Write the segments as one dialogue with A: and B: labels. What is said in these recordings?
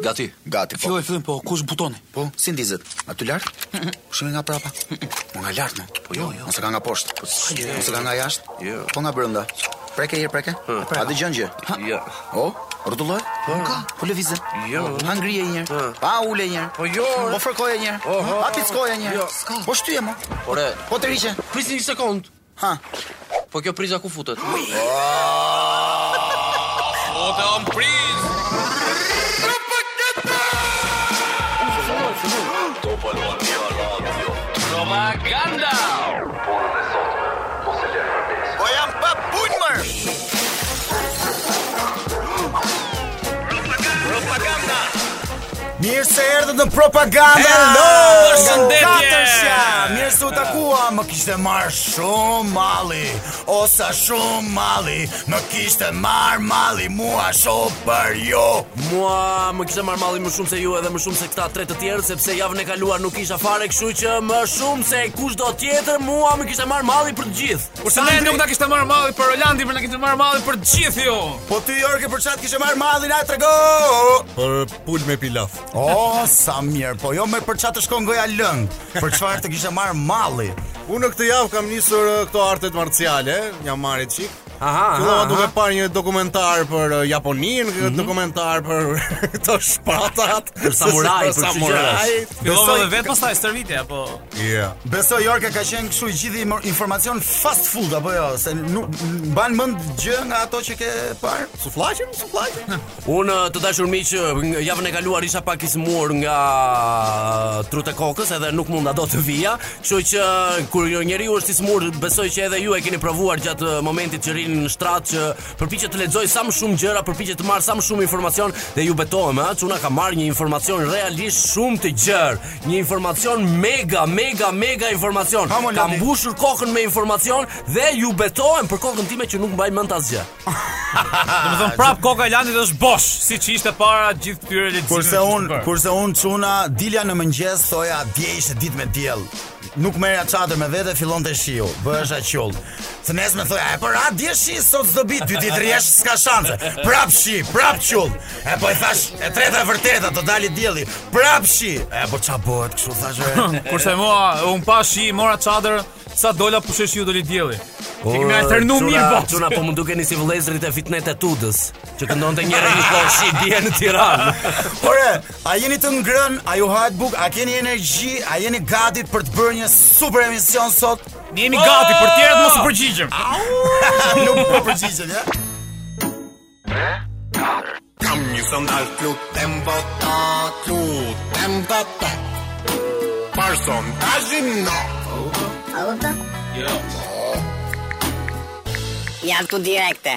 A: Gati.
B: Gati po.
C: Filloj fillim po, kush butoni?
B: Po, si ndizet? Aty lart? Shihni nga prapa. Po nga lart më. Po jo, jo. Ose ka nga poshtë. Po ose ka nga jashtë.
A: Jo.
B: Po nga brenda. Preke herë preke. A dëgjon gjë?
A: Jo.
B: O, rrotulloj? Po ka. Po lëvizë.
A: Jo.
B: Ha ngrije një herë.
A: Ha.
B: Pa ule një herë.
A: Po jo.
B: Po fërkoje një herë.
A: Oho.
B: Pa pickoje një
A: Jo.
B: herë. Po shtyje më.
A: Ore,
B: Po të riqe.
A: prisni një sekond.
B: Ha.
A: Po kjo priza ku futet?
D: Ote on priz Propaganda
E: Po jam pa punë mërë! Propaganda!
F: Mirë se erdhët në propaganda. Hello,
D: përshëndetje!
F: Mirë se u takua, më kishte marr shumë malli. O sa shumë malli, më kishte marr malli mua shoh për ju.
D: Mua më kishte marrë malli më shumë se ju edhe më shumë se këta tre të tjerë sepse javën e kaluar nuk isha fare, kështu që më shumë se kushdo tjetër mua më kishte marrë malli për të gjithë.
G: Kurse ne nuk na kishte marrë malli për Holandi, por na kishte marrë malli për të gjithë ju.
F: Po ty Jorge për çat kishe marr mallin, na trego.
H: Për pul me pilaf.
F: O sa mirë, po jo më për çat të shkon goja lëng. Për çfarë të kishe marr malli?
H: Unë në këtë javë kam nisur eh, këto artet marciale, jam marrë çik.
G: Aha.
H: Fillova duke parë një dokumentar për eh, Japoninë,
F: Mhm.
H: mm dokumentar për këto shpatat, për
D: samurai, për çdo
H: samurai.
G: Fillova
F: Besoj-
G: edhe vetë pastaj stërvitje apo
H: Yeah.
F: Besoj Jorka ka qenë kështu i gjithë imo- informacion fast food apo jo, se nuk mban mend gjë nga ato që ke parë?
H: Suflaqim, suflaqim.
D: Unë uh, të dashur miq, ng- javën e kaluar isha pak i smur nga trut e kokës edhe nuk munda do të vija, kështu që uh, kur një njeriu është i smur, besoj që edhe ju e keni provuar gjatë eh, momentit që rini në shtrat që përpiqet të lexoj sa më shumë gjëra, përpiqet të marr sa më shumë informacion dhe ju betohem, ëh, çuna ka marrë një informacion realisht shumë të gjerë, një informacion mega, mega, mega informacion.
F: Ha, mo,
D: Ka
F: Ladi.
D: mbushur kokën me informacion dhe ju betohem për kokën time që nuk mbaj mend asgjë.
G: Domethënë prap koka e Holandit është bosh, siç ishte para gjithë këtyre leximeve.
F: Kurse
G: që
F: un,
G: kishte bërë.
F: kurse un çuna dilja në mëngjes thoja dje ishte ditë me diell. Nuk merja çadër me vete, fillonte shiu, bëhesha qiell. Se nesër thoja, e por a dje shi sot s'do bi, dy ditë rresh s'ka shanse. Prap shi, prap qiell. E po i thash, e treta e vërteta do dali dielli. Prap shi. E po ça bëhet kështu thash. e.
G: kurse mua un pa shi, mora çadër, sa dola pushesh ju doli dielli. Ti kemi alternu
D: Po, Çuna-
G: mirë bosh.
D: Çuna po më dukeni si vëllezërit e fitnet e Tudës, që këndonte njëri një kohë shi dje në Tiranë.
F: Ore, a jeni të ngrën, a ju hahet buk, a keni energji, a jeni gati për të bërë një super emision sot?
G: Ne jemi gati për tjerët mos u përgjigjem.
F: Nuk po përgjigjem, ja?
E: Kam një sandal flutem vota, flutem vota Par sondazhin no
I: A kupton? Jo. Jam tu direkte.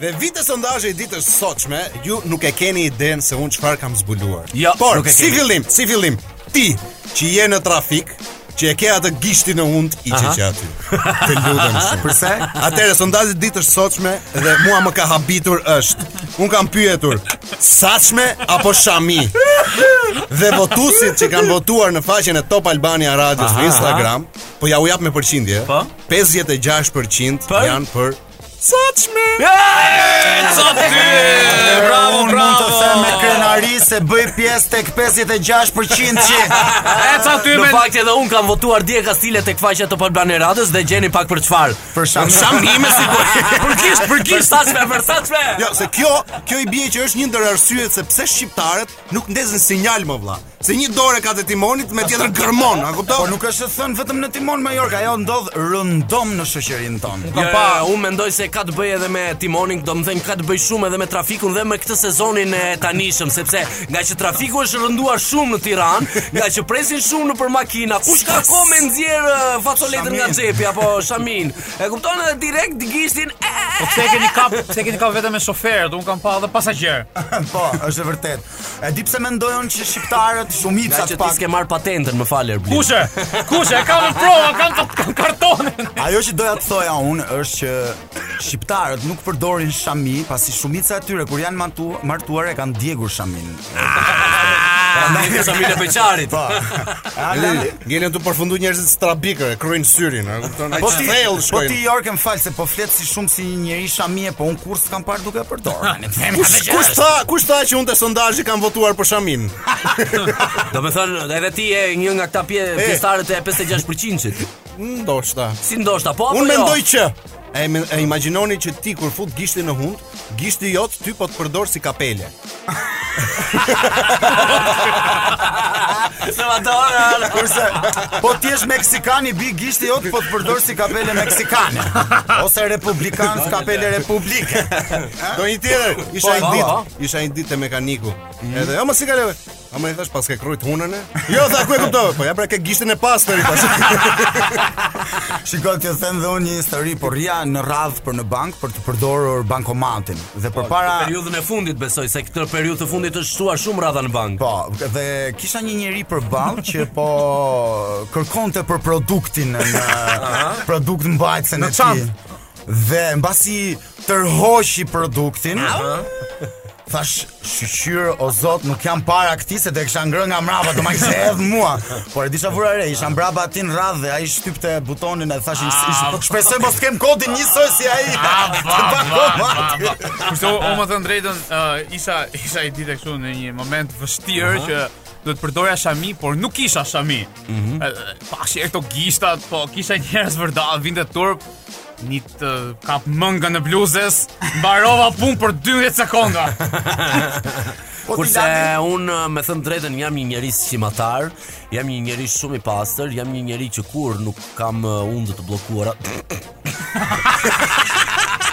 H: Dhe vite sondazhe i ditës sotshme, ju nuk e keni idenë se unë çfarë kam zbuluar.
D: Jo,
H: Por,
D: nuk e
H: si
D: keni.
H: fillim, si fillim, ti që je në trafik, që e ke atë gishtin e unt i që që aty. Të lutem shumë. Përse? Atëre sondazhi i ditës sotshme dhe mua më ka habitur është. Un kam pyetur, sashme apo shami? Dhe votuesit që kanë votuar në faqen e Top Albania Radios në Instagram, po ja u jap me përqindje.
G: Po?
H: 56%
G: Për?
H: janë për sashme.
G: Sa ty! Bravo,
F: Unë mund të
G: bravo.
F: them me krenari se bëj pjesë tek 56% që
G: E sa ty
D: Në
G: me
D: fakt edhe un kam votuar dje Kastile tek faqja e Top Albania Radës dhe gjeni pak për po- çfarë.
F: për shkak
D: Shamime sigurisht. Për gisht, për gisht. Për sasme, për sasme.
H: Jo, se kjo, kjo i bie që është një ndër arsyet se pse shqiptarët nuk ndezin sinjal më vlla. Se një dorë ka te timonit me tjetër gërmon, a
F: Po
H: kupton?
F: nuk është të thënë vetëm në Timon Majorka, ajo ndodh rëndom në shoqërinë tonë.
D: Jo, pa, unë mendoj se ka të bëj edhe me timonin, do më thënë ka të bëj shumë edhe me trafikun dhe me këtë sezonin e tanishëm, sepse nga që trafiku është rënduar shumë në Tiran, nga që presin shumë në për makina, kush ka ko me nëzjerë fatoletën nga xhepi apo shamin, e kupton edhe direkt gishtin, e, e,
G: Po pse e keni kap, pse e keni kap vetëm me shoferët, un kam pa edhe pasagjer.
F: Po, është e vërtet. E di pse mendojnë që shqiptarët
D: nga
F: shumica
D: që ti
F: të pak
D: s'ke marrë patentën, më faler, bli.
G: Kushe, kushe, e kam në prova, kam të kam kartonin.
F: Ajo që doja të thoja unë është që shqiptarët nuk përdorin shami, pasi shumica e tyre kur janë mantu- martuar e kanë djegur shamin.
D: Prandaj me Samile Beqarit.
F: Po. A, la-
H: Gjeni të përfundu njerëzit strabikër, e kryjnë syrin, e kupton?
F: Po ti,
H: thellë
F: po ti
H: shkojnë.
F: Jorgen fal se po flet si shumë si një njeri shamie, po un kur s'kam parë duke e përdorur. Ne themi
H: Kush kush tha, kush tha që unë te sondazhi kam votuar për Shamin?
D: Do me thënë, edhe ti e një nga këta pje, pjestarët e 56%-it.
H: Ndoshta.
D: Si ndoshta, po apo
H: Unë mendoj
D: jo?
H: që E, men- e imagjinoni që ti kur fut gishtin në hund, gishti jot ty po të përdor si kapele.
D: Se ma dorë,
F: Kurse, po ti je meksikan i bi gishti jot po të përdor si kapele meksikane ose republikan si kapele republike.
H: Do një tjetër,
D: Po,
H: isha një
D: po,
H: ditë, isha një ditë te mekaniku. Edhe, "Jo, mos i kalove." A më i thash pas ke krujt hunën e? Jo, tha ku e kuptova. Po ja pra ke gishtin e pastër i thash.
F: Shikoj ti them dhe unë një histori, por rria në radh për në bank për të përdorur bankomatin dhe përpara
D: Periudhën e fundit besoj se këtë periudhë të fundit është shtuar shumë radha në bank.
F: Po, dhe kisha një njeri përballë që po kërkonte për produktin në produkt mbajtësen e tij. Dhe mbasi tërhoqi produktin, thash shqyr o zot nuk jam para këtij se do e kisha ngrënë nga mbrapa do ma kishte hedh mua por e disha vura re
G: Ah.
F: isha mbrapa aty në radhë dhe ai shtypte butonin e thash
G: Ah.
F: "Ish- shpresoj mos kem kodin njësoj si ai
G: Kështu unë më thënë drejtën, uh, isha isha i ditë kështu në një moment vështirë që do të përdoja shami, por nuk kisha shami. Mm Pashi e këto gishtat, po kisha njerëz vërda, vinte turp, një të kap mënga në bluzes, mbarova punë për 12 sekonda.
D: Kurse unë me thënë drejtën jam një njerëz qimatar, jam një njerëz shumë i pastër, jam një njerëz që kur nuk kam uh, undë të bllokuara.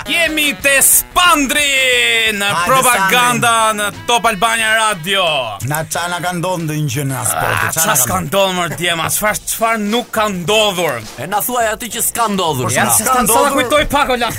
G: Jemi te Spandri në
F: Hajde,
G: propaganda në Top Albania Radio.
F: na çana ka ndodhur ndonjë gjë në asport
G: Ah, Qa s'ka ndodhur mërë djema, qfar, qfar nuk ka ndodhur
D: E na thuaj atë që s'ka
F: Po,
D: ndodhur.
G: Ja,
D: pra.
G: se s'ka ndodhur. Sa kujtoj pak Ola.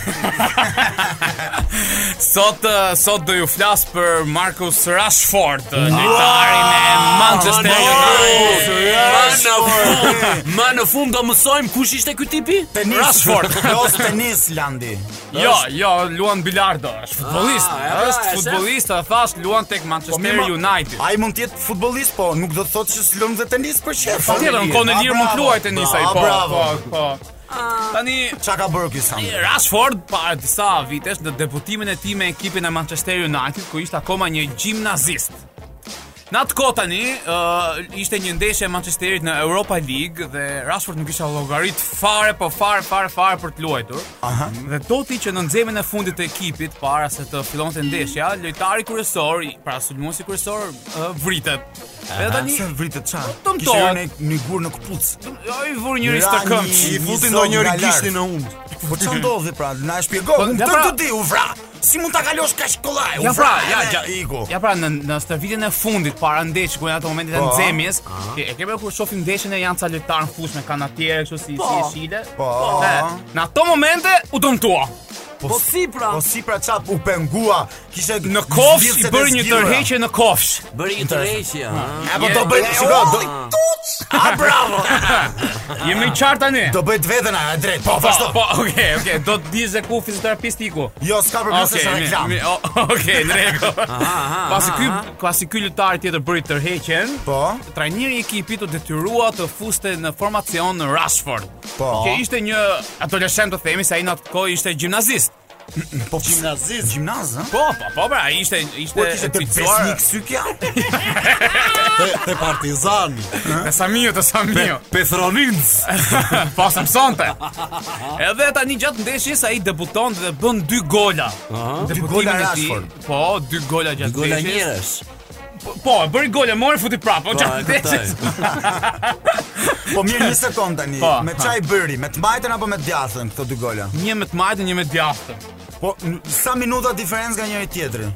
G: sot eh, sot do ju flas për Marcus Rashford, eh, lojtarin e Manchester United.
D: Ma në fund, ma në fund do mësojmë kush ishte ky tipi?
F: Rashford los tenis landi
G: Jo, jo, luan bilardo, është futbollist.
D: Ah, ja,
G: Është
D: e se.
G: futbollist, e thash luan tek Manchester United.
F: Ai mund të jetë futbollist, po nuk do të thotë që s'lëm dhe tenis për qef.
G: Patjetër, Po në kohën e lirë mund të luajë tenisa i po,
F: Ah, Bravo.
G: po, po. Tani
F: Çka ka bërë ky Sandri?
G: Rashford para disa vitesh në debutimin e tij me ekipin e Manchester United ku ishte akoma një gjimnazist. Në atë kohë tani uh, ishte një ndeshje e Manchesterit në Europa League dhe Rashford nuk isha llogarit fare po fare fare fare për të luajtur. Aha. Dhe doti që në nxemin e fundit të ekipit para se të fillonte ndeshja, lojtari kryesor, i- pra sulmuesi kryesor uh, vritet. Dhe tani
F: Se vritet ça?
G: Tom
F: Kishte
G: Tom.
F: hyrë në një gur në kputc.
G: ai vur njëri të këmbë.
H: I futi ndonjëri gishtin në hund.
F: Po ç'a ndodhi pra? Na e shpjego.
G: Po,
F: Unë
G: ja
F: të
G: pra-
F: të di, u vra. Si mund ta kalosh kaq kollaj? U
G: Ja pra, ja,
F: edhe
G: ja,
F: iku.
G: ja pra në në stërvitjen e fundit para ndeshjes ku janë ato momentet
F: Po,
G: e nxemjes, e e kemi kur shohim ndeshjen e janë ca lojtarë në fushë me kanatiere kështu si si shile.
F: Po.
G: E, Në ato momente u dëmtua.
F: Po si pra? Po si pra çap u pengua? Kishte
G: Në kofsh i
F: zgjidhset e
G: bëri një
F: zgjidhura.
G: tërheqje në kofsh.
D: Bëri një tërheqje. ha?
F: E po do bëj, shiko, do. A bravo.
G: Jemi qartë tani.
F: Do bëj të veten a drejt. Po
G: Po,
F: vazhdo.
G: po, okay, okay, do të di se ku fizioterapisti iku.
F: Jo, s'ka problem se
G: Okej,
F: është
G: mi-
F: reklam.
G: mi- o- Okej, në rregull. Pasi ky, pasi ky lojtar tjetër bëri tërheqjen,
F: Po.
G: trajneri i ekipit u detyrua të fuste në formacion në Rashford.
F: Po.
G: Që ishte një adoleshent të themi se ai në atë kohë ishte gjimnazist.
F: Po gjimnazist, gjimnaz, ha?
G: Po, po, po, pra, ai ishte ishte
F: Po kishte të
G: fizuar-
F: besnik sykja.
H: Te, te partizani.
G: Te Samiu, te Samiu. Petronins. po sa mësonte. Edhe tani gjatë ndeshjes ai debuton dhe bën dy gola. Në
F: Dy
G: debutimin
F: gola
G: e tij-
F: Rashford.
G: Po, dy gola gjatë
D: Gola
G: ndeshjes.
D: njerësh.
G: Po, e bëri gole, mori futi prapë. Po,
D: e kuptoj.
F: Po mirë një sekond tani.
G: Po,
F: me çaj bëri, me të mbajtën apo me të djathën këto dy gola?
G: Një me të majtën, një me të djathtën.
F: Po n- sa minuta diferencë nga njëri tjetri?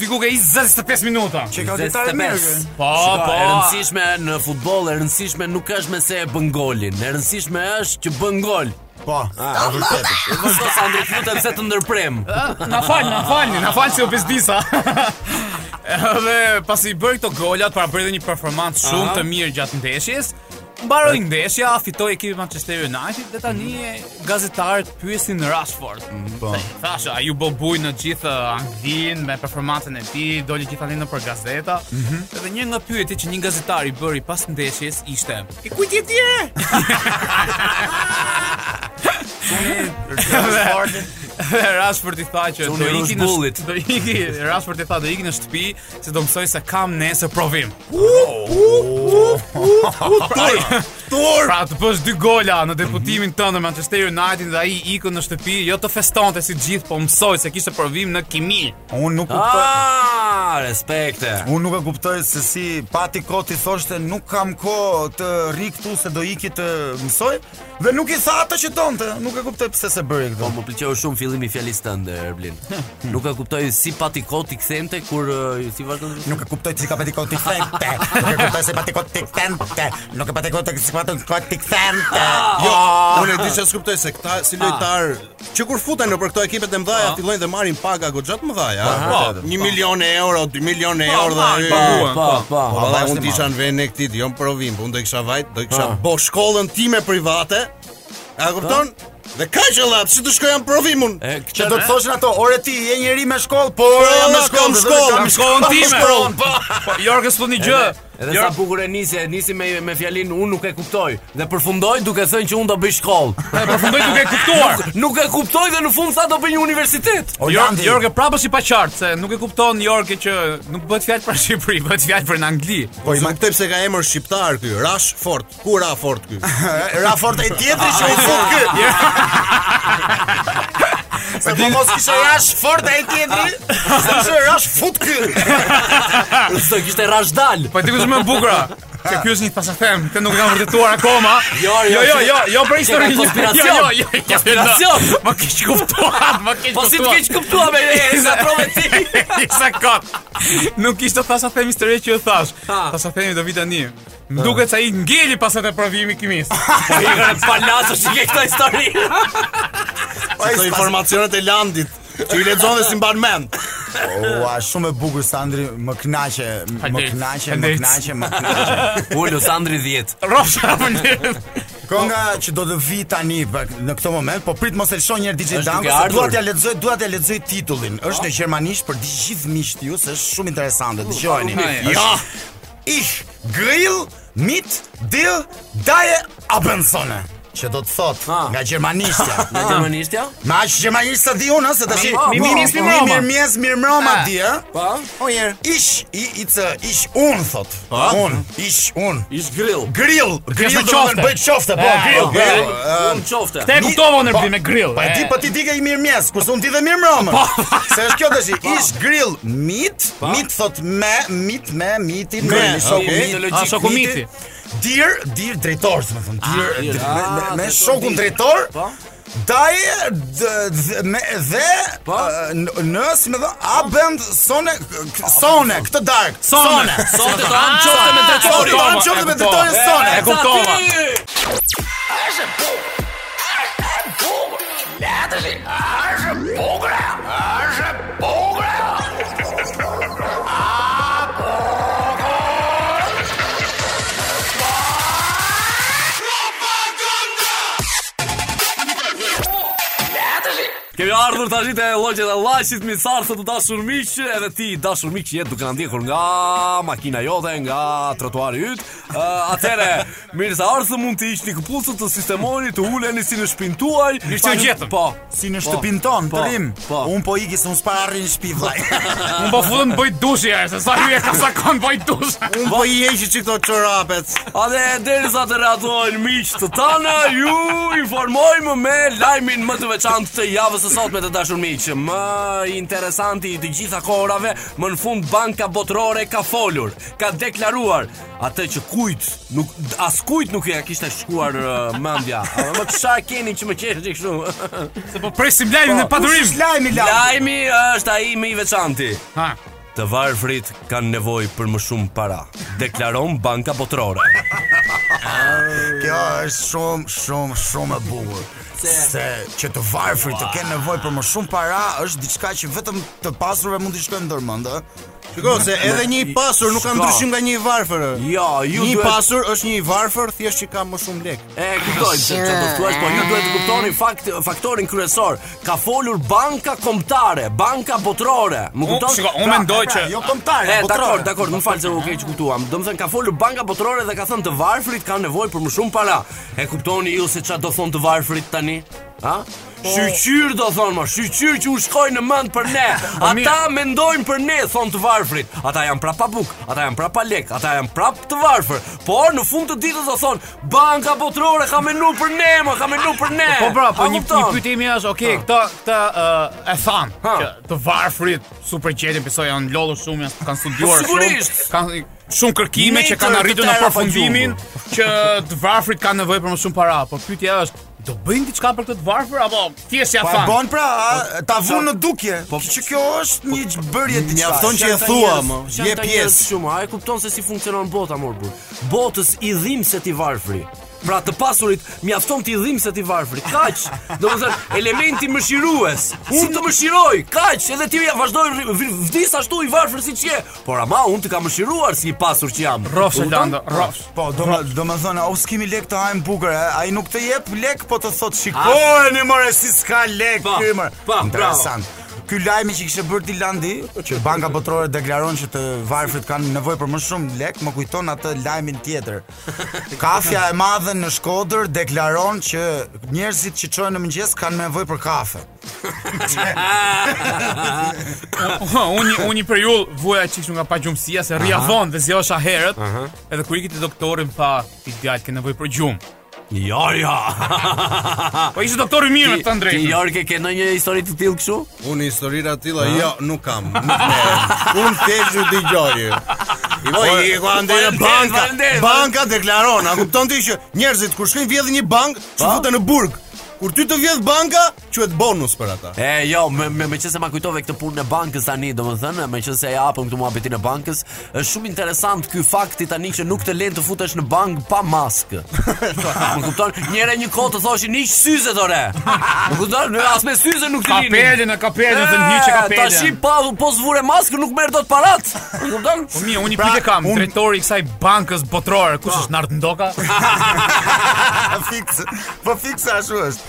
G: Diku ka 25 minuta.
F: Që ka
D: 25.
F: lojtarë mirë. kë.
G: Po,
D: Shiko,
G: po.
D: E rëndësishme në futboll, e rëndësishme nuk është me se e bën golin. E rëndësishme është që bën gol.
F: Po, e vërtet.
D: Vazhdo sa ndërflutem se të ndërprem.
G: Ë, Na fal, na fal, na fal se u bezdisa. Edhe pasi i bëri këto golat, para bëri dhe një performancë shumë të mirë gjatë ndeshjes. Mbaroi ndeshja, fitoi ekipi Manchester United dhe tani e gazetarët pyesin Rashford.
H: Po.
G: Thashë, a ju bo buj në gjithë uh, Anglinë me performancën e tij, doli gjithë tani nëpër gazeta.
D: Mhm.
G: Dhe një nga pyetjet që një gazetar i bëri pas ndeshjes ishte: "E kujt je ti?" e?" Dhe Rashford i tha që
D: Unë
G: do
D: i rush
G: iki në
D: bullit."
G: sh- do iki Rashford i tha do iki në shtëpi se do mësoj se kam nesër provim.
H: Tur!
G: Pra të bësh dy gola në deputimin
D: Mhm.
G: tënd në Manchester United dhe ai ikën në shtëpi, jo të festonte si të gjithë, po mësoj se kishte provim në kimi.
F: Unë nuk kuptoj.
D: Ah, respekte.
F: Unë nuk e kuptoj se si pati koti thoshte nuk kam kohë të ri këtu se do iki të mësoj dhe nuk i tha atë që donte. Nuk e kuptoj pse se bëri
D: Po
F: këtë.
D: më pëlqeu shumë fillimi i fjalës tënde Erblin. Nuk e kuptoj si pati koti kthente kur eh, si vazhdon.
F: Nuk e kuptoj si ka pati koti kthente. Nuk e kuptoj se pati koti kthente. Nuk e pati koti si pati koti kthente.
H: Jo,
D: Ah.
H: unë e di që skuptoj se këta si lojtar që kur futen nëpër këto ekipet e mëdha
D: Ah.
H: fillojnë dhe marrin paga goxhat mëdha, a? Po, 1 milion euro, 2 milion euro dhe
D: Po, po, po. Ah.
H: Po,
F: Po,
H: valla,
F: vazhdim,
H: unë tisha në vend e këtit, jo në provim, po unë do i kisha vajt, do i kisha bo shkollën time private. A kupton? Dhe ka që lap, si të shkoja në provim unë?
D: Ah. E
F: Që
D: këtë
F: do të thoshin ato, ore ti je njeri me shkollë, po
H: Po,
F: ore jam me
H: valla,
F: shkollë.
H: kam
F: dhe
G: Pra,
H: shkollë,
D: Pra,
F: vetëm
H: kam shkollën time.
G: Po, po Jorgës thotë një gjë.
D: Edhe sa bukur e nisi, e nisi me me fjalin unë nuk e kuptoj dhe përfundoi duke thënë që unë do bëj shkollë.
G: E përfundoi duke e kuptuar.
D: Nuk e kuptoj dhe në fund sa do bëj një universitet.
G: Jorg-
F: Orlandi.
G: Jorgë prapë është i paqartë se nuk e kupton Jorgë që nuk bëhet fjalë për Shqipëri, bëhet fjalë për në Angli.
H: Po, i kuptoj pse ka emër shqiptar ky, Rash Fort. Ku Ra Fort ky? Ah,
F: Ra fort e tjetri që u fut ky. Se po mos kisha rash fort e tjetri, se kisha rash fut ky.
D: Do kishte rashdal.
G: Po e di kush më e bukura. Se ky është një pasathem, këtë nuk e kam vërtetuar akoma.
D: Jo, jo,
G: jo, jo,
D: se-
G: jo, jo
D: se
G: për
D: ka
G: historinë. Jo,
D: konspiracion.
G: jo, jo, jo,
D: Konspiracion.
G: jo. Më keq kuptuar, më keq kuptuar.
D: Po si të keq kuptua me e zatrove ti.
G: Isa kot. Nuk ishte thasa themi histori që e thash.
D: Ha.
G: Thasa themi do vi tani. Më duket se ai ngeli pas atë provimi kimis.
D: Po i kanë palasësh i ke këtë histori.
H: Këto informacionet e landit që i lexon dhe si mban mend.
F: Ua, shumë e bukur Sandri, më kënaqe, më
G: Faleminderit.
F: kënaqe, më
G: Faleminderit.
F: kënaqe, më kënaqe.
D: Ulu Sandri 10.
G: Rrofsha më lirë.
D: Po.
F: Konga që do të vi tani pak në këtë moment, po prit mos e lëshon një herë DJ
D: Është
F: Danko,
D: duke
F: se
D: ardhur. Po.
F: dua t'ja lexoj, dua t'ja lexoj titullin. Është në gjermanisht për të gjithë miqtë ju, se është shumë
D: Uh,
F: interesante. Dëgjojeni.
G: mirë.
F: Ja. Ich grill mit dir daje Abendsone. Që do të thot
D: Ah.
F: nga gjermanishtja.
D: Në gjermanisht ja?
F: Ma që gjermanisht sa di unë, ëh, se tash
D: Ma, mi-
G: mirë mjes, mirë mbroma.
F: Mirë mjes, mirë mbroma
G: Ah.
F: di, ëh.
D: Po.
F: O njerë Ish, i, i të, ish unë thot Unë, ish unë
D: Ish Po. grill.
F: Grill, grill do
G: me
F: të
G: qofte.
F: bëjt qofte, po, grill, grill
D: Unë Um, qofte.
G: Te kuptova në
F: po,
G: me grill.
F: Po e ti, po ti di ke i mirë mjes, kurse unë ti dhe mirë mroma
D: Po,
F: Se është kjo të shi, ish grill, mit Mit thot me, mit me, mitin Me,
D: Me,
F: shoku
D: okay.
F: mit,
D: A,
G: shoku
F: miti.
G: miti.
F: Dir, dir drejtor, se me thëmë Dir,
D: Ah, Ah, dir.
F: dir-
D: Ah,
F: me- me- me
D: drejtor,
F: shokun
D: dir.
F: drejtor
D: Po.
F: Daje d- d- me dhe
D: Po.
F: ë, n- nës me dhe abend sone k- sone këtë dark sone
D: Sot e do
G: Ah,
F: Ah,
D: anë qofte me
F: Sone,
D: drejtori.
F: do anë qofte me drejtorin sone
G: E kuptova.
D: Kemi ardhur tash te llogjet e llaqit me sartë të dashur miq, edhe ti dashur miq që je duke na ndjekur nga makina jote, nga trotuari yt. Uh, atëre, mirë se ardhë mund të hiqni këpucët të sistemoni, të uleni si në shtëpinë tuaj.
G: Mirë se
D: pa
G: u gjetëm.
D: Po.
F: si në
D: po,
F: shtëpin ton
D: po,
F: të rim
D: Po.
F: un po iki se un s'pa arrin në shtëpi vllai
G: Unë po futëm bëj dushi ja, se sa hyje ka sakon bëj dush.
H: Unë po i heqi që këto çorapet.
D: A dhe derisa të ratojnë miq të tana, ju informojmë me lajmin më të veçantë të javës së sotme të dashur miq. Më interesanti i të gjitha kohërave, më në fund Banka Botërore ka folur, ka deklaruar atë që kujt nuk as kujt nuk ja kishte shkuar uh, mendja. A, Më çfarë keni që më qeshni kështu?
G: Se po presim lajmin në padurim.
F: Kush lajmi lajm
D: Lajmi është ai më i veçanti.
G: Ha.
D: Të varfrit kanë nevojë për më shumë para, deklaron Banka Botërore.
F: kjo është shumë shumë shumë e bukur se që të varfrit të kenë nevojë për më shumë para është diçka që vetëm të pasurve mund t'i shkojnë në dorëmend ë
H: Shiko se edhe një i pasur nuk ka
D: Shko.
H: ndryshim nga një i varfër. ë.
D: Jo, ju
H: Një i
D: duhet
H: pasur është një i varfër, thjesht që ka më shumë lek.
D: E kuptoj se çfarë do të thuash, po ju duhet të kuptoni fakt faktorin kryesor. Ka folur banka kombëtare, banka botërore. Më
G: Unë
D: kupton?
G: shiko, unë
D: Pra-
G: mendoj që
F: Jo kombëtare,
D: E, dakor,
F: botërore.
D: dakor, më falë se u keq kuptuam. Do të thënë ka folur banka botërore dhe ka thënë të varfrit kanë nevojë për më shumë para. E kuptoni ju se çfarë do thonë të varfrit tani? Ha?
G: Po.
D: Shqyqyr do thonë, ma, shqyqyr që u shkoj në mend për ne.
G: Po,
D: Ata mendojnë për ne, thonë të varfrit. Ata janë prapa buk, ata janë prapa lek, ata janë prap të varfër. Por në fund të ditës do thonë, banka botërore ka menu për ne, ma, ka menu për ne.
G: Po pra, po
D: A
G: një një
D: kupton?
G: pyetje ime është, okay, këta këta ë, e than
D: Ha.
G: që të varfrit super gjetin besoj janë lodhur shumë, janë kanë studiuar
D: Po, sigurisht.
G: shumë. Kanë shumë kërkime
D: Natër
G: që kanë arritur
D: të
G: në
D: tëra pa
G: përfundimin që të varfrit kanë nevojë për më shumë para. Po pyetja është, do bëjnë diçka për këtë të varfër apo thjesht ja
F: Po e
G: than?
F: bën pra, a, ta vun në dukje. Po që kjo është një gjë- bërje diçka.
H: Mjafton që e
D: Shanta
H: thua,
D: njerëz-
H: më.
D: shanta
H: Je
D: njerëz
H: pjesë.
D: Shumë, a e kupton se si funksionon bota morbur. Botës i dhim se ti varfri. Pra të pasurit mjafton ti dhim se ti varfri. Kaq. Domethënë elementi mëshirues. Unë të mëshiroj. Kaq, edhe ti ja vazhdoj rri- v- vdis ashtu i varfër siç je. Por ama unë të kam mëshiruar si i pasur që jam.
G: Rrofsh
D: Kupton?
G: Lando, rrofsh.
F: Po, do më, do më thënë, o s'kimi lek të hajmë bukër, e, a i nuk të jep lek, po të thotë, shikojnë i mëre si s'ka lek,
D: Pa,
F: këmër.
D: pa,
F: Interesant. Ky lajmi që kishte bërë Dilandi, që banka botërore deklaron që të varfrit kanë nevojë për më shumë lek, më kujton atë lajmin tjetër. Kafja e madhe në Shkodër deklaron që njerëzit që çojnë në mëngjes kanë nevojë për kafe.
G: unë unë një periull vuja çik nga pagjumësia se rria vonë dhe zjosha herët. Edhe kur ikit te doktori më tha, ti djalë ke nevojë për gjumë.
D: Jo, jo.
G: Po ishte doktori mirë me
D: Ah. Ti-
G: të
D: Ti
G: drejtën.
D: Jorge ke ndonjë histori të tillë kështu?
H: Unë historira tila, jo, nuk kam. Nuk merrem. Unë thjesht ju dëgjoj. Po, i ku ande në
D: Faleminderit,
H: banka.
D: faleminderit.
H: Banka deklaron, a kupton ti që njerëzit kur shkojnë vjedhin një bank, që
D: Po?
H: futen në burg. Kur ty të vjedh banka, quhet bonus për ata.
D: E, jo, me, me, me që se ma kujtove këtë punë në bankës tani, do më thënë, me që se e apëm këtë muhabitin e bankës, është shumë interesant ky fakti tani që nuk të lenë të futesh në bankë pa maskë. më kupton, njëre një kohë të thoshin, iq syze të re. Më kupton, në- as me syze nuk të lini.
G: Kapelin e
D: Ah,
G: kapelin, thënë hiqe kapelin.
D: Tashi pa, po zvure maskë nuk merë do të parat. Më kupton?
G: Po mirë, unë i
D: Pra,
G: pyetje kam, drejtori i kësaj bankës botërore, kush
D: Ah.
G: është Nart Ndoka?
F: Po fiks, po fiks ashtu është.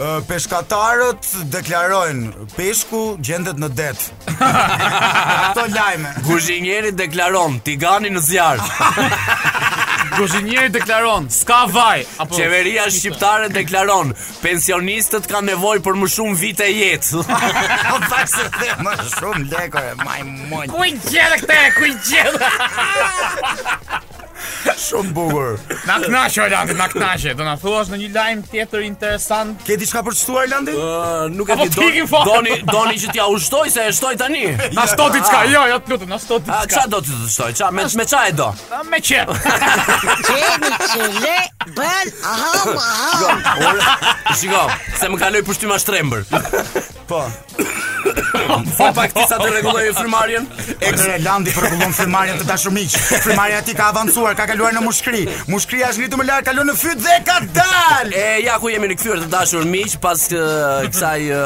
F: Ë, Peshkatarët deklarojnë peshku gjendet në det. Kto lajme.
D: Kuzhinjeri deklaron, tigani në zjarë.
G: Kuzhinieri deklaron, s'ka vaj, apo
D: Qeveria shqiptare deklaron, pensionistët kanë nevojë për më shumë vite jetë.
F: Po faks dhe më shumë lekore, majmun.
G: Ku i gjerë këtë, ku i gjerë?
F: Shumë bukur.
G: Na knaqë, Orlando, na knaqë. Do na thuash në një lajm tjetër interesant.
F: Ke diçka për të shtuar Landi?
D: Ë, nuk e
G: Apo
D: di doni,
G: pikin fare.
D: doni doni që t'ja ushtoj se e shtoj tani.
G: Na shto
D: ah.
G: diçka, jo, jo, të lutem, na shto
D: A
G: diçka.
D: ç'a do ti të shtoj? Ç'a me me ç'a e do?
G: A, Me qep.
I: Qemi që le bën aham aham
D: Shiko, se më kaloj pushtyma shtrembër.
F: Po.
D: Po pak ti sa të rregulloj frymarrjen.
F: Ekre Landi përkullon frymarrjen të dashur miq. Frymarrja e tij ka avancuar, ka kaluar në mushkri. Mushkria është ngritur më lart, kalon në fyt dhe ka dalë.
D: E ja ku jemi rikthyer të dashur miq pas ë, kësaj ë,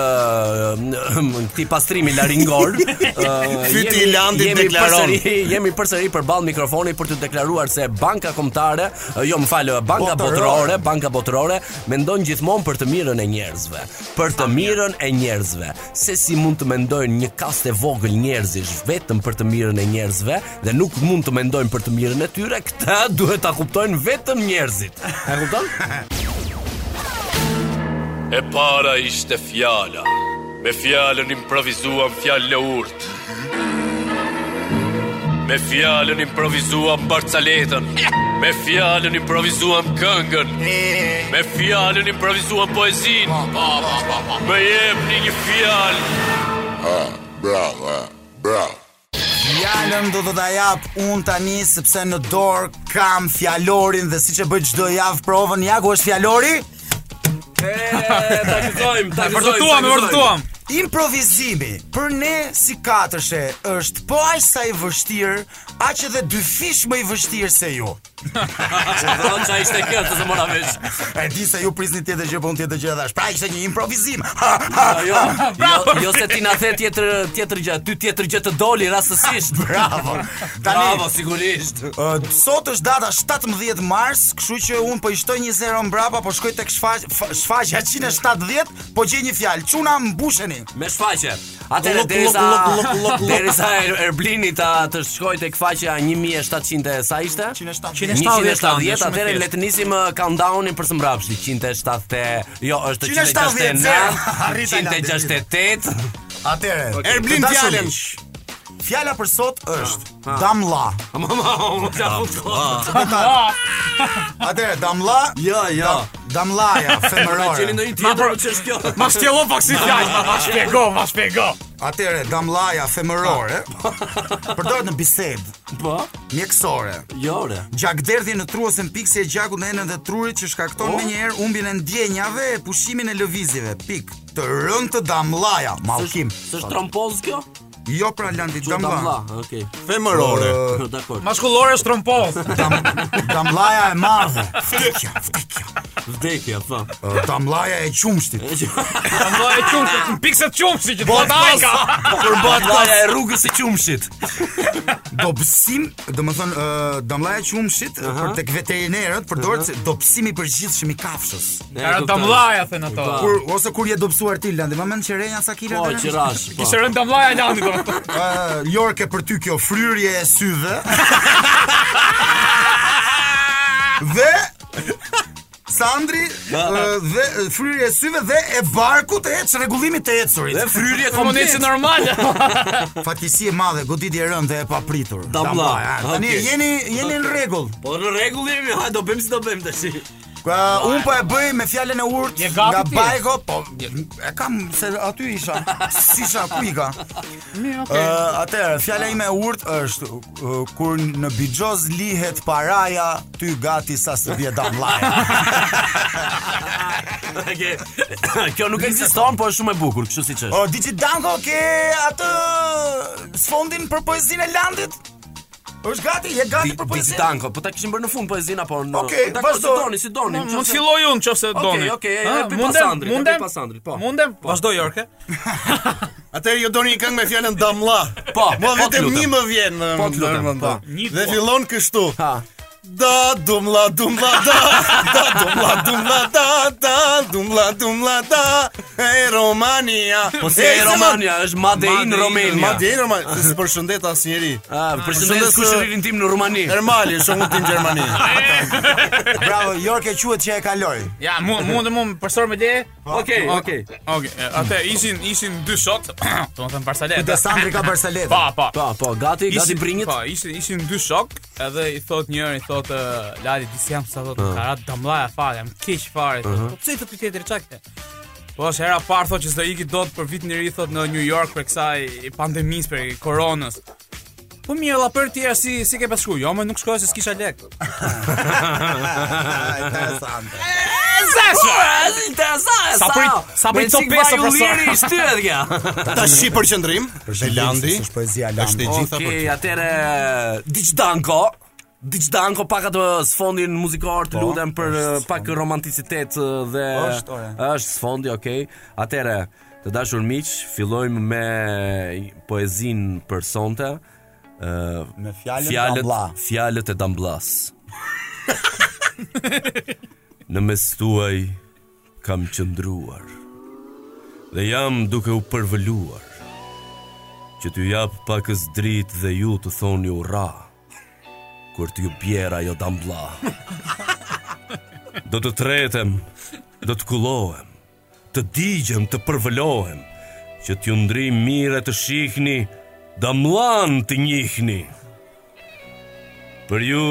D: këtij pastrimi laringor. ë,
H: Fyti
D: jemi-
H: i Landit
D: jemi
H: deklaron.
D: përsëri- Jemi përsëri përballë mikrofonit për të deklaruar se banka kombëtare, ë, jo më fal, banka botërore, banka botërore mendon gjithmonë për të mirën e njerëzve, për
H: Ah,
D: të mirën e njerëzve. Se si mund të mendojnë një kast e vogël njerëzish vetëm për të mirën e njerëzve dhe nuk mund të mendojnë për të mirën e tyre, këtë duhet ta kuptojnë vetëm njerëzit. E kupton?
C: E para ishte fjala. Me fjalën improvisuam fjalë e urtë. Me fjalën improvisuam barcaletën. Me fjalën improvisuam këngën. Me fjalën improvisuam poezinë. Më jepni një fjalë.
F: Fjalën do të ta jap un tani sepse në dorë kam fjalorin dhe siç e bëj çdo javë provën, ja ku është fjalori?
D: E, ta gëzojmë, ta gëzojmë.
G: Vërtetuam,
D: ta
G: e
D: gëzojmë.
G: vërtetuam.
F: Improvizimi për ne si katërshe është po aq sa i vështirë, aq edhe dy fish më i vërshtirë se ju.
D: Do çaj ishte kjo të se mora vesh.
F: E di se ju prisni tjetër gjë, po unë tjetër gjë dash. Pra ishte një improvizim.
D: Jo, jo, jo se ti na the tjetër tjetër gjë, ty tjetër gjë të doli rastësisht.
F: Bravo. Tani,
D: Bravo sigurisht.
F: Ë, sot është data 17 mars, kështu që un po i shtoj një zero mbrapa, po shkoj tek shfaq- f- shfaqja 170, po gjej një fjalë. Çuna mbusheni.
D: Me shfaqe. Atëre
F: Ulluk,
D: derisa
F: ulluk, ulluk, ulluk, ulluk.
D: derisa Er- Erblini ta të shkojë tek faqja 1700 e sa ishte?
F: 170.
G: 170,
D: 170,
G: shumë e
D: atëre
G: thjeshtë.
D: le të nisim uh, countdownin për së mbrapshti. 170, jo, është
F: 170,
D: 169,
F: arrita Landi.
D: 168.
F: Atëre.
H: Erblin
F: të dashur
H: fjalën. Ah,
F: miq, Fjala për sot është damlla. Atëre, damlla.
D: Jo, jo.
F: Damllaja
D: Gjeni
F: femërore.
D: ndonjë tjetër që është kjo?
G: Ma shtjellon pak si fjalë, ma shpjego, ma shpjego.
F: Atëre, damllaja femërore.
H: Ah.
F: Përdoret në bisedë
D: Po,
F: mjekësore.
D: jo, re.
F: Gjakderdhje në tru ose në pikë si e gjakut në enën dhe trurit që shkakton oh. menjëherë humbjen e ndjenjave e pushimin e lëvizjeve. Pik. Të rënd të damllaja, mallkim.
D: S'është trompoz kjo?
F: Jo pra landi damlla.
D: Damla, okay.
H: Femërore.
D: Dakor.
G: Mashkullore shtrompoz.
F: Dam, damllaja e madhe. Vdekja, vdekja.
D: Vdekja, po.
F: Ë, Damllaja e qumshtit.
G: Ando e qumshit, pikset qumshit që do të ajka.
D: Përbat laja e rrugës së qumshit.
F: Dobësim, domethënë ë, damllaja e qumshit ë, për tek veterinerët përdoret si dobësimi i përgjithshëm i kafshës.
G: Era damllaja thënë ato.
D: Po.
F: Kur ose kur je dobësuar ti landi, më mend që renja sa kilo.
D: Po,
F: atëherë?
D: qirash, po.
G: Kishë rënë damllaja lani do.
F: Ë, Jorke për ty kjo fryrje e syve. dhe Sandri ë, dhe ë, fryrje e syve dhe e barkut e çrregullimit të ecurit.
D: Dhe fryrje
G: Komunici
D: komplet.
G: normale.
F: Fatkeqësi e madhe, goditje e rëndë dhe e papritur.
D: Damla.
F: Damla, ja. Tani
D: Okej.
F: jeni jeni në rregull.
D: Po në rregull jemi, ha do bëjmë si do bëjmë tash.
F: Ka un po e bëj me fjalën e urtë
G: Je gati
F: nga
G: ti?
F: Bajko, po e kam se aty isha. Si isha ku i ka? Ë, atëherë, fjala ime e urtë është ë, kur në bigjoz lihet paraja, ty gati sa se bie damllaja.
D: Okej. Kjo nuk ekziston, po është shumë e bukur, kështu siç është.
F: O Dici Danko ke atë sfondin për poezinë e Landit? Është gati, je gati për poezinë.
D: Digitanko, po ta kishim bërë në fund poezin apo në.
F: Okej,
D: Dakor,
F: vazhdo.
D: si doni, si doni.
G: Mund të filloj unë nëse doni.
D: okej, e
G: Ha,
D: pi
G: mundem,
D: pasandrit, e pi
G: mundem?
D: pasandrit, po.
G: Mundem? Vazhdo Jorke.
H: Atëherë ju doni një këngë me fjalën damlla.
D: Po,
H: Mo
D: po,
H: vetëm
D: t'lutem.
H: një më vjen.
D: Po, t'lutem,
H: më
D: po.
H: nda.
G: Një
H: Dhe
G: po.
H: fillon kështu.
D: Ha.
H: Da dumla dumla da da dumla dumla da da dumla dumla da e Romania.
D: Po se e Romania, është Made in Romania.
H: Madje në Romania, se përshëndet asnjëri.
D: Ah, përshëndes kushëririn tim në Rumani.
H: Normali, shumë ti në Gjermani.
F: Bravo, Jorke quhet që e kaloi.
G: Ja, mund mund mund përsër me leje.
D: Okej, okej.
G: Okej, e, atë ishin ishin dy shot. Domethënë Barcelona.
F: Dhe Sandri ka Barsalet.
G: Pa, pa.
D: Po, po, gati, gati brinjit.
G: Po, ishin ishin dy shok, edhe i thot njëri, i thot uh, Lali disi jam sa thot karat damllaja fare, jam keq fare. i thot. Po pse i thot ky tjetër çakte? Po është hera e parë thot që s'do iki dot për vitin e ri thot në New York për kësaj pandemisë për koronës. Po mirë, la për tjerë si si ke pas shku? Jo, më nuk shkoj se s'kisha lek.
F: Interesante.
D: Interesant.
G: Sa prit- sa prit top pesë, profesor.
D: i shtyhet kjo.
H: Tash i përqendrim. Landi.
F: Është poezia e
H: Është
F: Landit.
H: e gjitha për
D: Okej, atëre Diçdanko Diçdanko pak atë sfondin muzikor të lutem për uh, pak romanticitet ë, dhe
F: Po, Është, ore.
D: është sfondi, okay. Atëre, të dashur miq, fillojmë me poezin për sonte, ë
F: Me fjalën damlla.
D: fjalët fjalët e damblas. Në mes tuaj kam qëndruar dhe jam duke u përvëluar që t'ju jap pakës dritë dhe ju të thoni ura kur t'ju bjera jo dambla. Do të tretem, do të kullohem, të digjem, të përvëlohem, që t'ju ndri mire të shihni, damlan të njihni. Për ju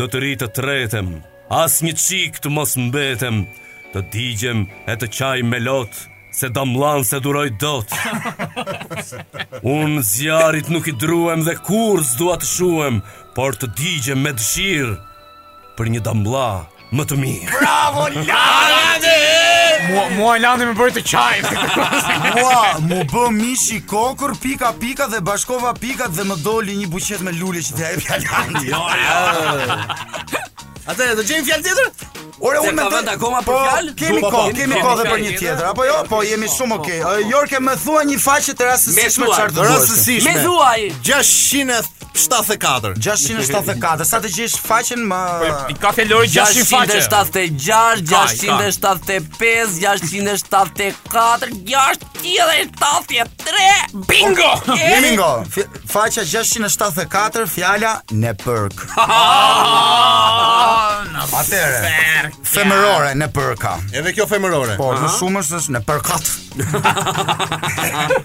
D: do të rritë të tretem, as një qik të mos mbetem, të digjem e të qaj me lot, se damlan se duroj dot. Unë zjarit nuk i druem dhe kur s'dua të shuem, por të digjem me dëshirë për një dambla më të mirë.
G: Bravo, Landi! Mua, mua Landi më bërë të qajnë.
F: Mua, mu bë mishi kokur, pika pika dhe bashkova pikat dhe më doli një buqet me lule që t'ja e pjalandi.
D: Jo,
H: Atë do gjejmë fjalë tjetër?
F: Ore,
D: Se
F: unë
D: ka
F: mendoj-
D: vend akoma për
F: Po,
D: fjalë?
F: Kemi
D: Po, po, po,
F: kohë, kemi
D: kemi
F: kohë dhe për
G: fjalë
F: një
G: tjetër.
F: tjetër, apo jo? Po, jemi shumë okay. Ë, Jorke, më thua një faqe të rastësishme
D: Me thua,
F: çfarë do duash?
H: Rastësishme.
D: Me thuaj.
H: 674.
F: 674. Sa të gjesh faqen më
G: I ka të lori 600 faqe.
D: 676,
G: Kaj,
D: 675, 674, 673. Bingo!
F: Jemi ngo. Fi- Faqja 674, fjala në përk.
G: Ah,
F: Atëre. Femërore në përka.
H: Edhe kjo femërore. Po,
F: Po, më shumë është është në përkat.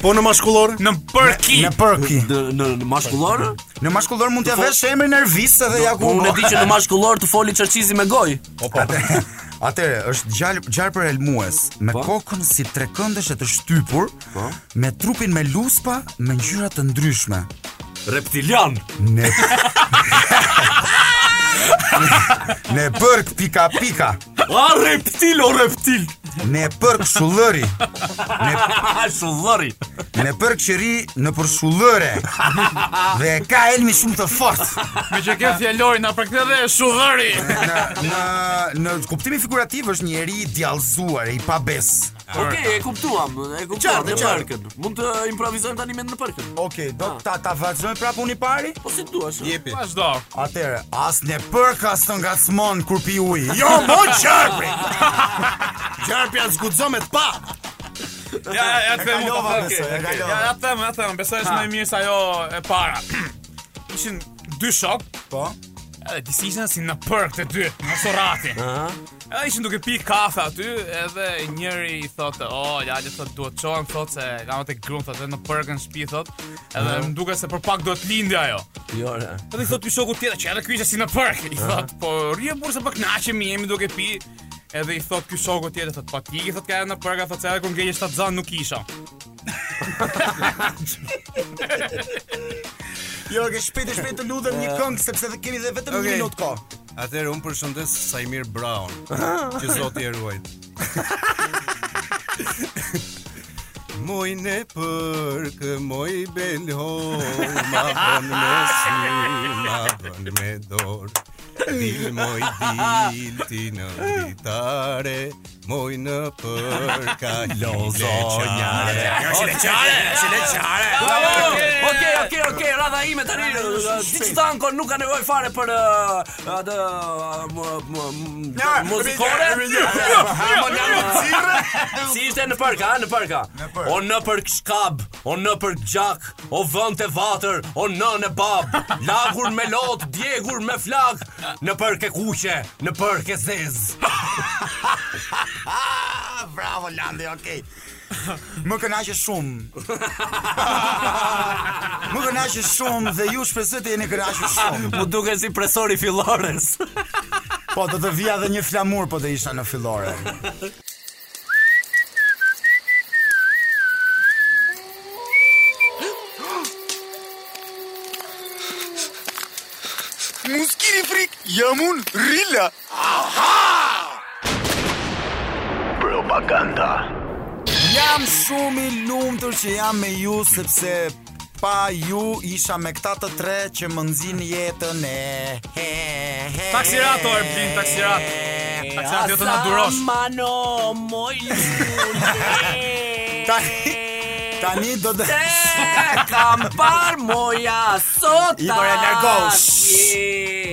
H: po në maskullore?
G: Në përki.
F: Në përki.
D: Në në në mashkullor?
F: Në mashkullor mund t'ja vesh emrin Ervis edhe ja Po, ku.
D: Unë e di që në mashkullor të foli çerçizi me gojë.
F: Atëre, është gjalë gjalë për elmues, me
G: Po.
F: kokën si trekëndeshe të shtypur, me trupin me luspa, me ngjyra të ndryshme.
D: Reptilian.
F: Ne Ne përk pika pika
D: A reptil o reptil.
F: Ne përk shullëri
D: A shullori.
F: Ne përk qëri në për shullëre Dhe ka elmi shumë të fort
G: Me që ke fjallori, na për këtë dhe shuhëri.
F: Në, në, në kuptimi figurativ është njeri i djallzuar, i pa bes
D: Okej, e kuptuam, e kuptuam në parkën. Mund të improvizojmë tani me në parkën.
F: Okej, do ta ta vazhdojmë prapë unë i pari?
D: Po si duash.
H: Jepi.
G: Vazhdo.
F: Atëre, as në përk as të ngacmon kur pi ujë. Jo, mo qarpri.
H: Qarpja zguxo me të pa.
G: Ja, ja, ja, të themu.
F: kalova,
G: po,
F: besoj,
G: okay,
F: e
G: okay.
F: kalova.
G: Ja, ja, të themu, ja, të themu. Besoj është më e mirë se ajo e para. Ishin dy shok,
F: Po.
G: edhe disi ishin si në përk të dy, në sorati. Edhe ishin duke pi kafe aty, edhe njëri i thotë, "O, lali thotë duhet çohem, thotë se kam të gruan thotë në përkën shtëpi thotë, edhe më duket se për pak do të lindë ajo."
D: Jo, re.
G: Edhe i thotë ky shoku tjetër që edhe ky ishte si në park. I thotë, po rrie burrë se po kënaqemi, jemi duke pi. Edhe i thotë ky shoku tjetër, thotë, po ti i thotë ka në park, a thotë se edhe kur ngjehesh ta zan nuk isha.
F: Jo, ke shpejt e shpejt të lutem një këngë sepse dhe kemi dhe vetëm një
H: Okej.
F: minutë kohë.
H: Atëherë un përshëndes Sajmir Brown, që zoti e ruajt. Moj në përkë, moj belho, ma bën me sy, ma bën me dorë. Dil moj dil ti në vitare, moj në përka lozo njare.
D: Okej, okej, okej, radha ime tani. Diç tanko nuk ka nevojë fare për uh, atë uh, mu- mu- mu- muzikore. Si ishte në park, a në park. a? O në park shkab, o në park gjak, o vënd të vatër, o nën e bab. Lagur me lot, djegur me flak, në park e kuqe, në park e zez.
F: Bravo Landi, okay. Më kënaqe shumë. Më kënaqe shumë dhe ju shpresoj të jeni kënaqur shumë.
D: Mu duket si presori fillores.
F: Po do të vija edhe një flamur po të isha në fillore.
E: Mos kini frik, jam un Rila.
F: Jam shumë i lumtur që jam me ju sepse pa ju isha me këta të tre që më nxin jetën e. He, he,
G: Taksirat, Orblin, taksirat. Taksirat, jo të na durosh.
D: Mano, moj lune.
F: Tani, tani do të
D: Te kam par moja sot
F: Igor, e largohu.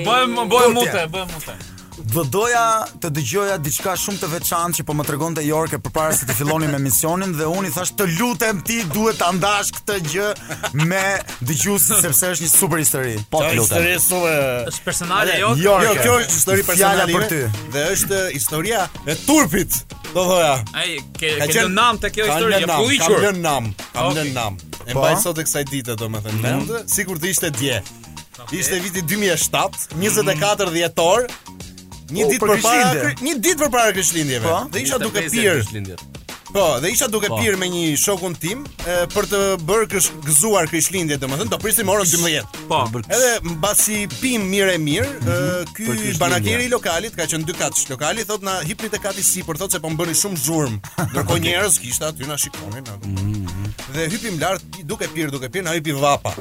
G: Bëhem bëhem
F: Tutje.
G: mute, bëhem mute.
F: do doja të dëgjoja diçka shumë të veçantë që po më tregonte Jorke përpara se të fillonim emisionin dhe unë i thash të lutem ti duhet ta ndash këtë gjë me dëgjuesit sepse është një super histori. Po të lutem.
G: Është personale jote.
F: Jorke.
H: Jo, kjo është histori
F: Fjala
H: personale
F: për
H: ime
F: ty.
H: Dhe është historia e turpit, do thoja.
G: Ai, ke
H: Ka
G: ke
H: qenë-
G: qenë nam te kjo
H: Kam
G: histori,
H: lënë
G: e
H: nam, Kam
G: pulliqur.
H: lënë nam, kam
G: Okej.
H: lënë nam. E
F: Po?
H: mbaj sot e kësaj dite domethënë. Mm -hmm. Sikur të ishte dje. Ishte viti 2007, 24 dhjetor. Një
F: O,
H: ditë
F: për
H: përpara,
F: Krishtlindje.
H: kri- një ditë përpara Krishtlindjeve.
F: Po?
H: Dhe isha duke pirë Po, dhe isha duke
D: Po.
H: pirë me një shokun tim e, për të bërë kësh gëzuar krishtlindje, domethënë do prisim orën 12.
G: Po.
H: Edhe mbasi pim mirë e mirë, e,
D: Për
H: ky
D: krishtlindje.
H: banakeri i lokalit ka qenë dy katsh. Lokali thot na hipni te kati sipër, thot se po mbëni shumë zhurm. Ndërkohë njerëz kishte aty na shikonin. Na. Dhe hypim lart pi- duke pirë, duke pirë, na hypi vapa.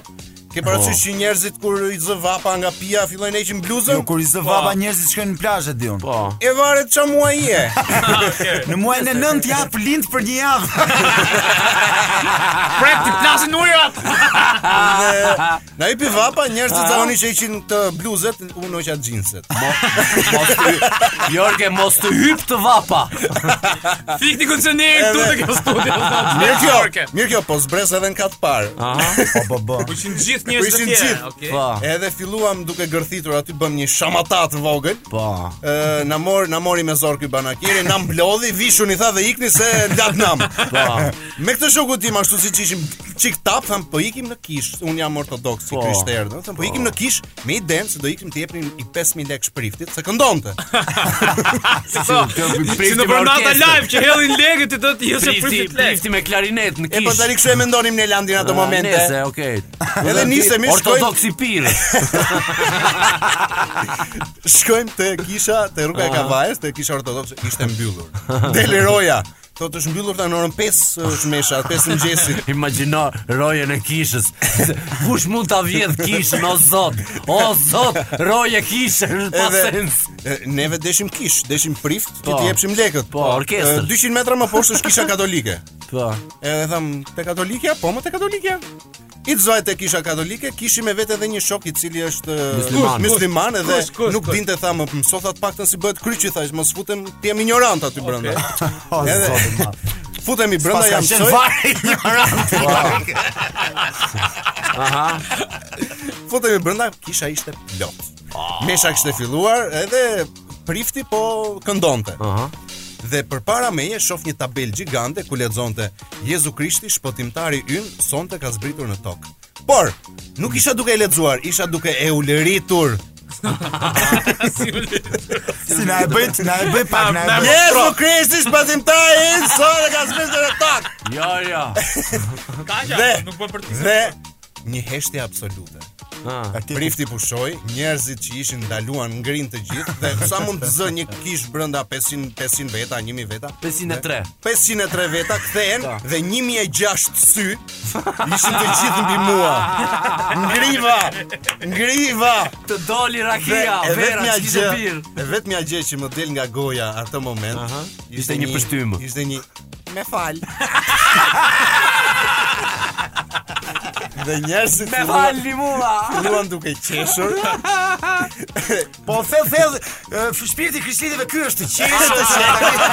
H: Ke parasysh që njerëzit kur i zë vapa nga pija fillojnë të heqin bluzën?
F: Jo, kur i zë
H: Po.
F: vapa njerëzit shkojnë në plazh e diun.
D: Po.
H: E varet çfarë muaji je.
F: Në muajin e 9 jap lind për një javë.
G: Prep ti plasin ujrat.
H: Dhe na i vapa, njerëzit zakonisht që ishin të bluzet, unë hoqa xhinset.
D: Mos të Jorge, mos të hyp të vapa.
G: Fik ti kondicionerin këtu te kjo studio.
H: Mirë kjo,
G: Orke.
H: mirë kjo, po zbres edhe në katë parë.
F: Po po po.
G: Po ishin gjithë njerëzit
H: Po ishin
G: atje,
H: gjithë.
G: Okej.
D: Po.
H: Edhe filluam duke gërthitur aty bëm një shamatat vogël.
D: Po.
H: Ë na mor na mori me zor ky banakiri, na mblodhi, vishuni tha dhe ikni se latnam. Po. Me këtë shoku tim ashtu siç ishim çik tap, tham po ikim në kish. Un jam ortodoks si
D: Po.
H: krishterë, do tham po ikim në kish me idenë se do ikim të jepnim i 5000 lekë shpriftit, se këndonte.
G: Po. Si në Bernata live që hellin legët ti do të jese
D: Prifti,
G: prifit lek.
D: prifti me klarinet në
H: E
D: kish. Ah,
H: po tani kështu e mendonim në Landin ato momente.
D: Nese, okay.
H: Edhe nisemi, shkojmë-
D: Ortodoks i pirë.
H: Shkojmë te kisha, te rruga e Kavajës, te kisha ortodokse, ishte mbyllur. Deli roja. Thotë është mbyllur tani në orën 5 është mesha, 5 e mëngjesit.
D: Imagjino rojen e kishës. Kush mund ta vjedh kishën o zot? O zot, roje kishën pa
H: Edhe
D: sens.
H: e, neve deshim kish, deshim prift, ti
D: Po.
H: t'i jepshim lekët.
D: Po, orkestrë.
H: E, 200 metra më poshtë është kisha katolike.
D: Po.
H: Edhe tham, te katolikja, po më te katolikja. I të zojt e kisha katolike, kishim me vete edhe një shok i cili është e,
D: Musliman.
H: musliman edhe
G: Kush, kush,
H: nuk
G: kush?
H: dinte tha më mëso tha të paktën si bëhet kryqi thash, mos futem, ti jam ignorant aty brenda.
F: O
H: Edhe-
F: zoti ma.
H: Futemi brenda
F: Pas ka
H: jam
F: qenë
H: mësoj.
F: fare ignorant.
H: Futemi brenda, kisha ishte plot. Mesha kishte filluar edhe prifti po këndonte. Dhe përpara meje shoh një tabelë gjigande ku lexonte Jezu Krishti shpëtimtari ynë sonte ka zbritur në tokë. Por nuk isha duke e lexuar, isha duke e ulëritur.
F: Si na e bëj, na e bëj pak, na e bëj.
H: Jezu Krishti shpëtimtari ynë sonte ka zbritur në tokë.
D: Jo, jo.
H: Dhe
G: nuk po për
H: Dhe një heshtje absolute. Prifti pushoi, njerëzit që ishin ndaluan ngrin të gjithë dhe sa mund të zë një kish brenda 500 500 veta, 1000 veta.
D: 503.
H: 503 veta kthehen dhe 1006 sy ishin të gjithë mbi mua. Ngriva, ngriva.
D: Të doli rakia,
H: e
D: vera,
H: vetmja
D: kishë
H: gjë,
D: pirë.
H: e vetmja gjë që më del nga goja atë moment,
D: Ishte një pështymë.
H: Ishte një me fal. dhe njerëzit
D: Me
H: filluan-
D: falni mua.
H: Luan duke qeshur
F: Po thell thell, e, f- shpirti i krishtlindjeve ky është i qetë.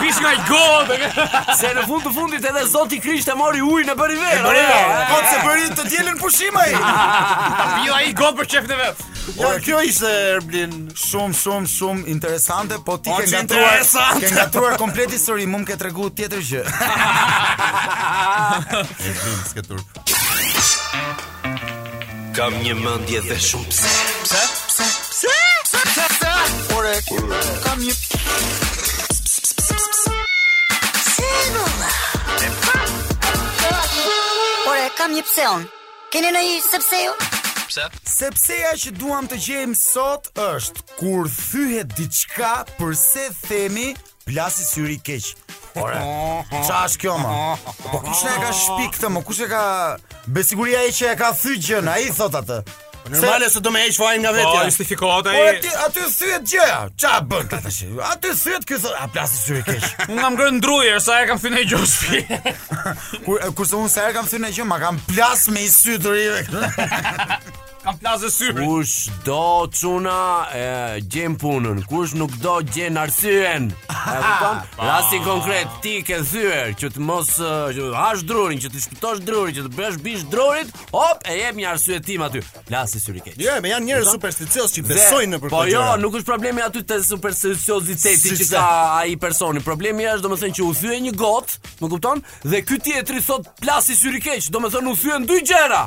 G: Pish nga god.
D: Se në fund të fundit edhe Zoti Krisht e mori ujin e bëri verë. ore.
H: bëri verë.
F: Po të bëri të dielën pushim ai.
G: Pio ai god për çefin e vet.
D: Po,
H: Por Jo, kjo ishte Erblin
F: Shumë shumë shumë interesante, po ti
H: O,
F: ke
H: që
F: ngatruar,
H: interesante.
F: ke ngatruar komplet histori, më më ke tregu tjetër gjë.
H: Erblin sketur
C: Kam një mendje dhe shumë pse.
I: Ore, kam një pse unë. Keni në i sepse ju?
F: Sepseja që duam të gjejmë sot është kur thyhet diçka përse themi plasi syri i keq. Ore, qa është kjo më? Po kush e ka shpik këtë më? Kush e ka... Besiguria e që e ka thy gjën, a i thot atë.
H: Po Normale se do me heq fajin nga
G: Po
H: vetja
G: justifikohet
F: Ore,
G: ai.
F: ti, aty thyhet gjëja. Qa bën ka tash? Aty thyhet kjo thot, a plasi syri i keq.
G: Unë nga ngrën ndruje, sa e kam thynë e gjosh shtëpi.
F: Kur, kurse unë sa herë kam thynë gjë, ma kam plas me i sy të rive.
G: Kam plazë syrin.
D: Kush do çuna e gjen punën, kush nuk do gjen arsyen. E kupton? Rasti konkret ti ke thyer që të mos e, që të hash drurin, që të shpëtosh drurin, që të bësh bish drurit, hop, e jep një arsye tim aty. Lasi syri keq.
H: Jo, me janë njerëz supersticioz që besojnë në për
D: Po
H: këtë
D: jo,
H: gjëra.
D: nuk është problemi aty te supersticioziteti
H: Si
D: që
H: se.
D: ka ai personi. Problemi është domethënë që u thye një got, më kupton? Dhe ky tjetri thot plasi syri keq, domethënë u thyen dy gjëra.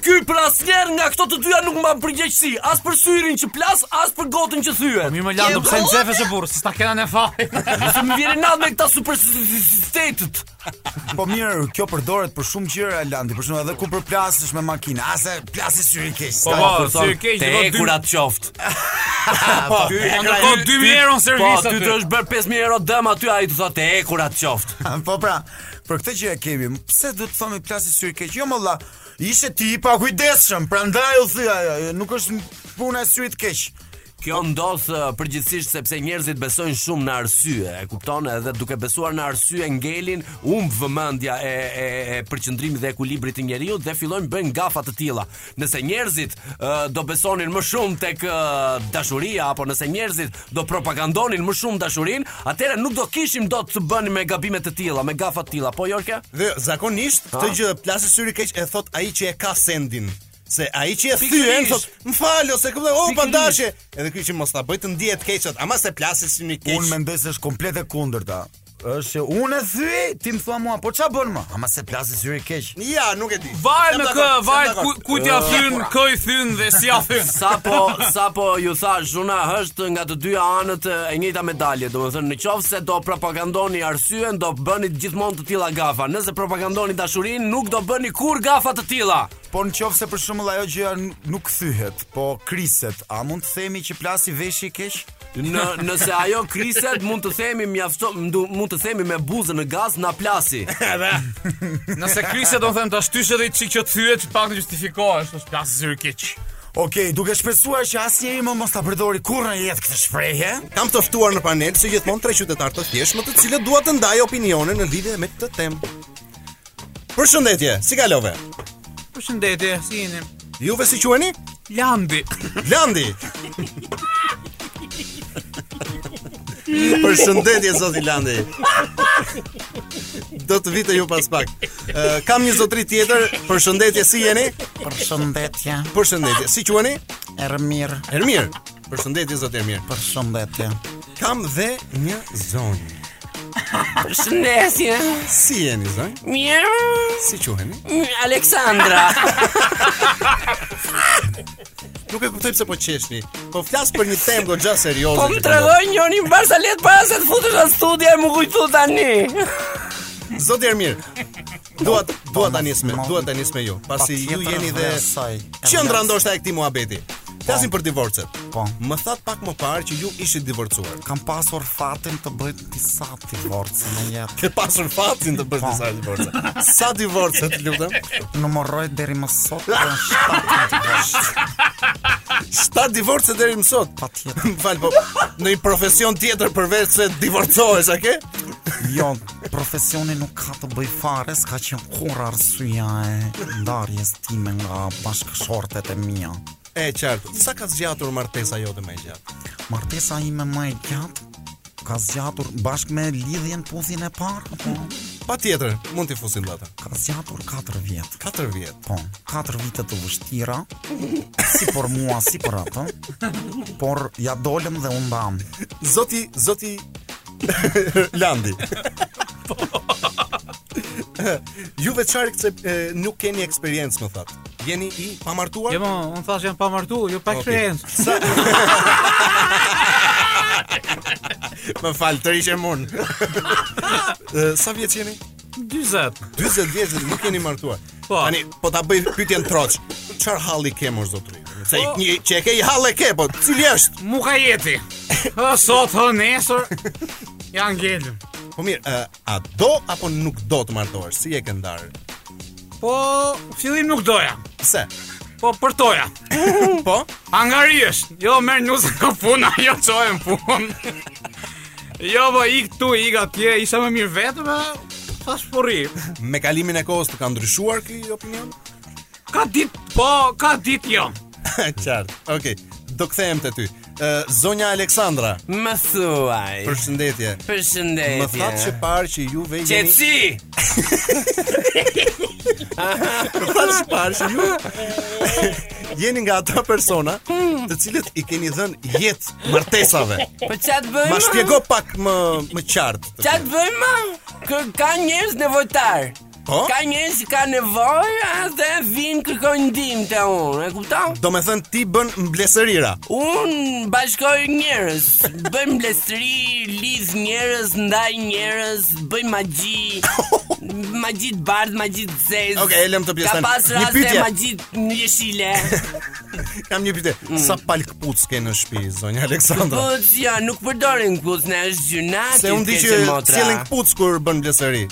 D: Ky pra asnjëherë nga këto të dyja nuk mban përgjegjësi, as për syrin që plas, as për gotën që thyet.
G: Mirë më lando, pse në zefesh e burë, si s'ta kena ne fare.
D: Se më vjen natë me këta supersticitetet.
F: Po mirë, kjo përdoret për shumë gjëra Landi, për shembull edhe kur përplasesh me makinë, ase plasi syri keq.
G: Po,
F: s'ka-
G: po, syri keq,
D: Te
G: do dy-
D: ekurat qoftë.
G: Po, në ko 2.000 euro në
D: Po,
G: servis
D: ty
G: aty.
D: të është bërë 5000 euro dëm aty ai të thotë te ekurat qoftë.
F: Po pra, për këtë gjë e kemi. Pse duhet të thonë plasi syri keq? Jo molla, ishe ti i pakujdesshëm, prandaj u thya, ajo, nuk është puna e syrit keq.
D: Kjo ndodh eh, përgjithsisht sepse njerëzit besojnë shumë në arsye, e kupton? Edhe duke besuar në arsye ngelin um vëmendja e e, e përqendrimit dhe ekuilibrit të njeriu dhe fillojnë bëjnë gafa të tilla. Nëse njerëzit eh, do besonin më shumë tek eh, dashuria apo nëse njerëzit do propagandonin më shumë dashurinë, atëherë nuk do kishim dot të bënim me gabime të tilla, me gafa të tilla. Po Jorka?
H: Dhe zakonisht këtë gjë plasë syri keq e thot ai që e ka sendin. Se ai që e thyen
D: Pikërisht.
H: thot, "Më fal ose këllë, o
D: Pikërisht.
H: pandashe." Edhe ky që mos ta bëj të ndihet keqat, ama se plasë syri keq.
F: Unë mendoj se është komplet e kundërta. Është që unë e thyej, ti më thua mua, po ç'a bën më? Ama se plasi syri keq.
H: Ja, nuk e di.
G: Varet
H: Jam
G: me kë,
H: dakord, jam
G: varet
H: dakord.
G: ku- ku t'ja thyn, kë i thyn dhe si ja thyn.
D: Sa po, sa po ju thash, zhuna është nga të dyja anët e e njëjta medalje, do më thënë në qovë se do propagandoni arsyen, do bëni gjithmonë të tila gafa, nëse propagandoni dashurin, nuk do bëni kur gafa të tila.
F: Po në qofë se për shumë ajo gjëja n- nuk thyhet, po kriset, a mund të themi që plasi veshi i keq?
D: Në, nëse ajo kriset, mund të themi mjafto, mdu- mund të themi me buzën në gaz, na plasi.
G: Nëse krisja do në them të ashtysh edhe i qik që të thyet që pak të justifikohesh, është plasë zyri keq.
F: Okej, duke shpresuar që asnjëri më mos ta përdori kurrë në jetë këtë shprehje.
H: Kam të ftuar në panel si gjithmonë tre qytetar të thjeshtë, më të cilët dua të ndaj opinione në lidhje me këtë temë. Përshëndetje, si kalove?
G: Përshëndetje, si jeni?
H: Juve si quheni?
G: Landi.
H: Landi. Përshëndetje zoti Landi. Do të vite ju pas pak. Ë, kam një zotri tjetër. Përshëndetje, si jeni?
F: Përshëndetje,
H: Përshëndetje, si quheni?
F: Ermir,
H: Ermir. Përshëndetje zoti Ermir.
F: përshëndetje.
H: Kam dhe një zonjë.
D: Përshëndetje,
H: Si jeni zonjë?
D: mjërë,
H: Si quheni?
D: Aleksandra.
H: Nuk e kuptoj pse po qeshni. Po flas për një temë goxha serioze.
D: Po
H: që
D: më
H: ka ndodhur.
D: tregoj njëri në barsalet para se të futesh në studio e më kujtu tani.
H: Zoti Ermir. Dua dua ta nis me, dua ta nis me ju, pasi ju
F: Patjetër
H: jeni
F: dhe
H: dhe
F: asaj.
H: qendra ndoshta e këtij muhabeti. Flasim për divorcet.
F: Po.
H: Më that pak më parë që ju ishit divorcuar.
F: Kam pasur fatin të bëj disa divorce në jetë.
H: Ke pasur fatin të bësh
F: Po.
H: disa divorce. Sa divorce, të lutem?
F: Numëroj deri më sot dhe në shtatë divorce.
H: 7 divorce deri më sot.
F: Patjetër.
H: Më fal, po në një profesion tjetër përveç se divorcohesh, a ke?
F: Jo, profesioni nuk ka të bëj fare, s'ka qenë kur arsyeja e ndarjes time nga bashkëshortet e mia.
H: E qartë. Sa ka zgjatur martesa jote më e gjatë?
F: Martesa ime më e gjatë ka zgjatur bashkë me lidhjen puthin e parë, po
H: Patjetër, mund t'i fusim data.
F: ka zgjatur 4 vjet.
H: 4 vjet.
F: Po, 4 vite të vështira, si për mua, si për atë, por ja dolëm dhe u ndam.
H: Zoti, zoti Landi. Juve çfarë se nuk keni eksperiencë më thatë. Jeni i pamartuar?
G: Jo, unë thash jam pa martu, jo pa eksperiencë.
H: Më fal, të rishe mund. Sa vjeç jeni?
G: 40.
H: 40 vjeç dhe nuk jeni martuar.
G: Po.
H: Tani po ta bëj pyetjen troç. Çfarë halli ke mor zotri? Se
G: Po.
H: i- një që e ke i hall e ke, po cili është?
G: Mu ka jeti. Hë, sot, hë, nesër. Ja ngelëm.
H: Po mirë, ë, a do apo nuk do të martohesh? Si e ke ndarë?
G: Po, fillim nuk doja.
H: Pse?
G: Po, përtoja.
H: Po?
G: Angarish, jo merr nusë ka puna, jo qohem punë. Jo, po i këtu, i atje, isha më mirë vetëm, e thash po porri.
H: Me kalimin e kohës të ka ndryshuar ky opinion?
G: Ka dit, po, ka dit jo.
H: Qartë, okej, do këthejem të ty Ë, Zonja Aleksandra,
D: Më thuaj.
H: përshëndetje
D: Përshëndetje.
H: Më thatë që parë që juve jeni
D: Qeci!
H: Më thatë që parë që juve Jeni nga ata persona Të cilët i keni dhënë jetë martesave
D: Po ç'a të bëjmë?
H: Ma shpjego pak më, më qartë
D: Ç'a të bëjmë? Kë ka njerëz nevojtar.
H: Po?
D: Ka njerëz që kanë nevojë dhe vinë kërkojnë ndihmë te unë, e kupton?
H: Do me thënë ti bën mblesërira
D: Unë bashkoj njerëz, bëj mbledhëri, lidh njerëz, ndaj njerëz, bëj magji. Magji të bardh, magji të zezë.
H: Okej, e lëm të pjesën.
D: Ka pas
H: Një
D: raste
H: pyetje.
D: magji të jeshile.
H: Kam një pyte Sa palk puc ke në shpi, zonja Aleksandra
D: Këpuc, ja, Po, nuk përdorin këpuc, ne është gjuna,
H: Se unë di që cilin këpuc kur bën blesëri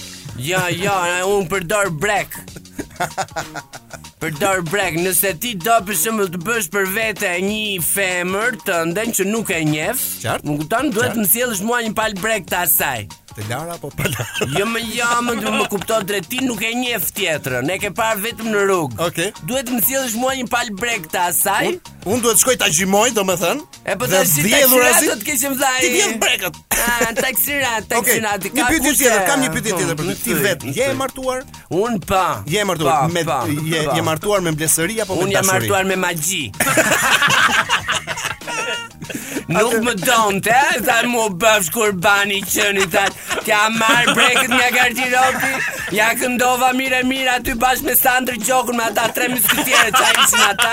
D: Ja, ja, unë përdor brek. Përdor brek, nëse ti do për shembull të bësh për vete një femër të ndën që nuk e njeh,
H: Qartë.
D: më kupton, duhet
H: Qartë.
D: më sjellësh mua një pal brek të asaj.
H: Të lara apo pa lara
D: Jo më jo më du më kupto drejt ti nuk e njeh tjetrën, e ke parë vetëm në rrugë.
H: Okej.
D: Duhet më sjellësh mua një pal brek të asaj.
H: Unë duhet shkoj ta gjimoj, do me thënë
D: E po tash si taksirat do të keqim dhaj.
H: Ti vjen brekët
D: Ah, taksirat,
H: Okej,
D: taksirat.
H: një pyetje tjetër, kam një
D: Po,
H: pyetje tjetër për ty. Ti vetë je e
D: martuar?
H: martuar?
D: Un pa.
H: Je e martuar
D: Pa,
H: me
D: pa,
H: je
D: pa.
H: je martuar me blesëri apo me
D: Unë jam
H: dashuri?
D: martuar me magji. Nuk më donte, tha mu bëfsh kurbani qëni, tha t'ja marrë breket nga gardirobi, ja këndova mire mire aty bashkë me Sandrë Gjokun, me ata tre miskutjere që ishin ata,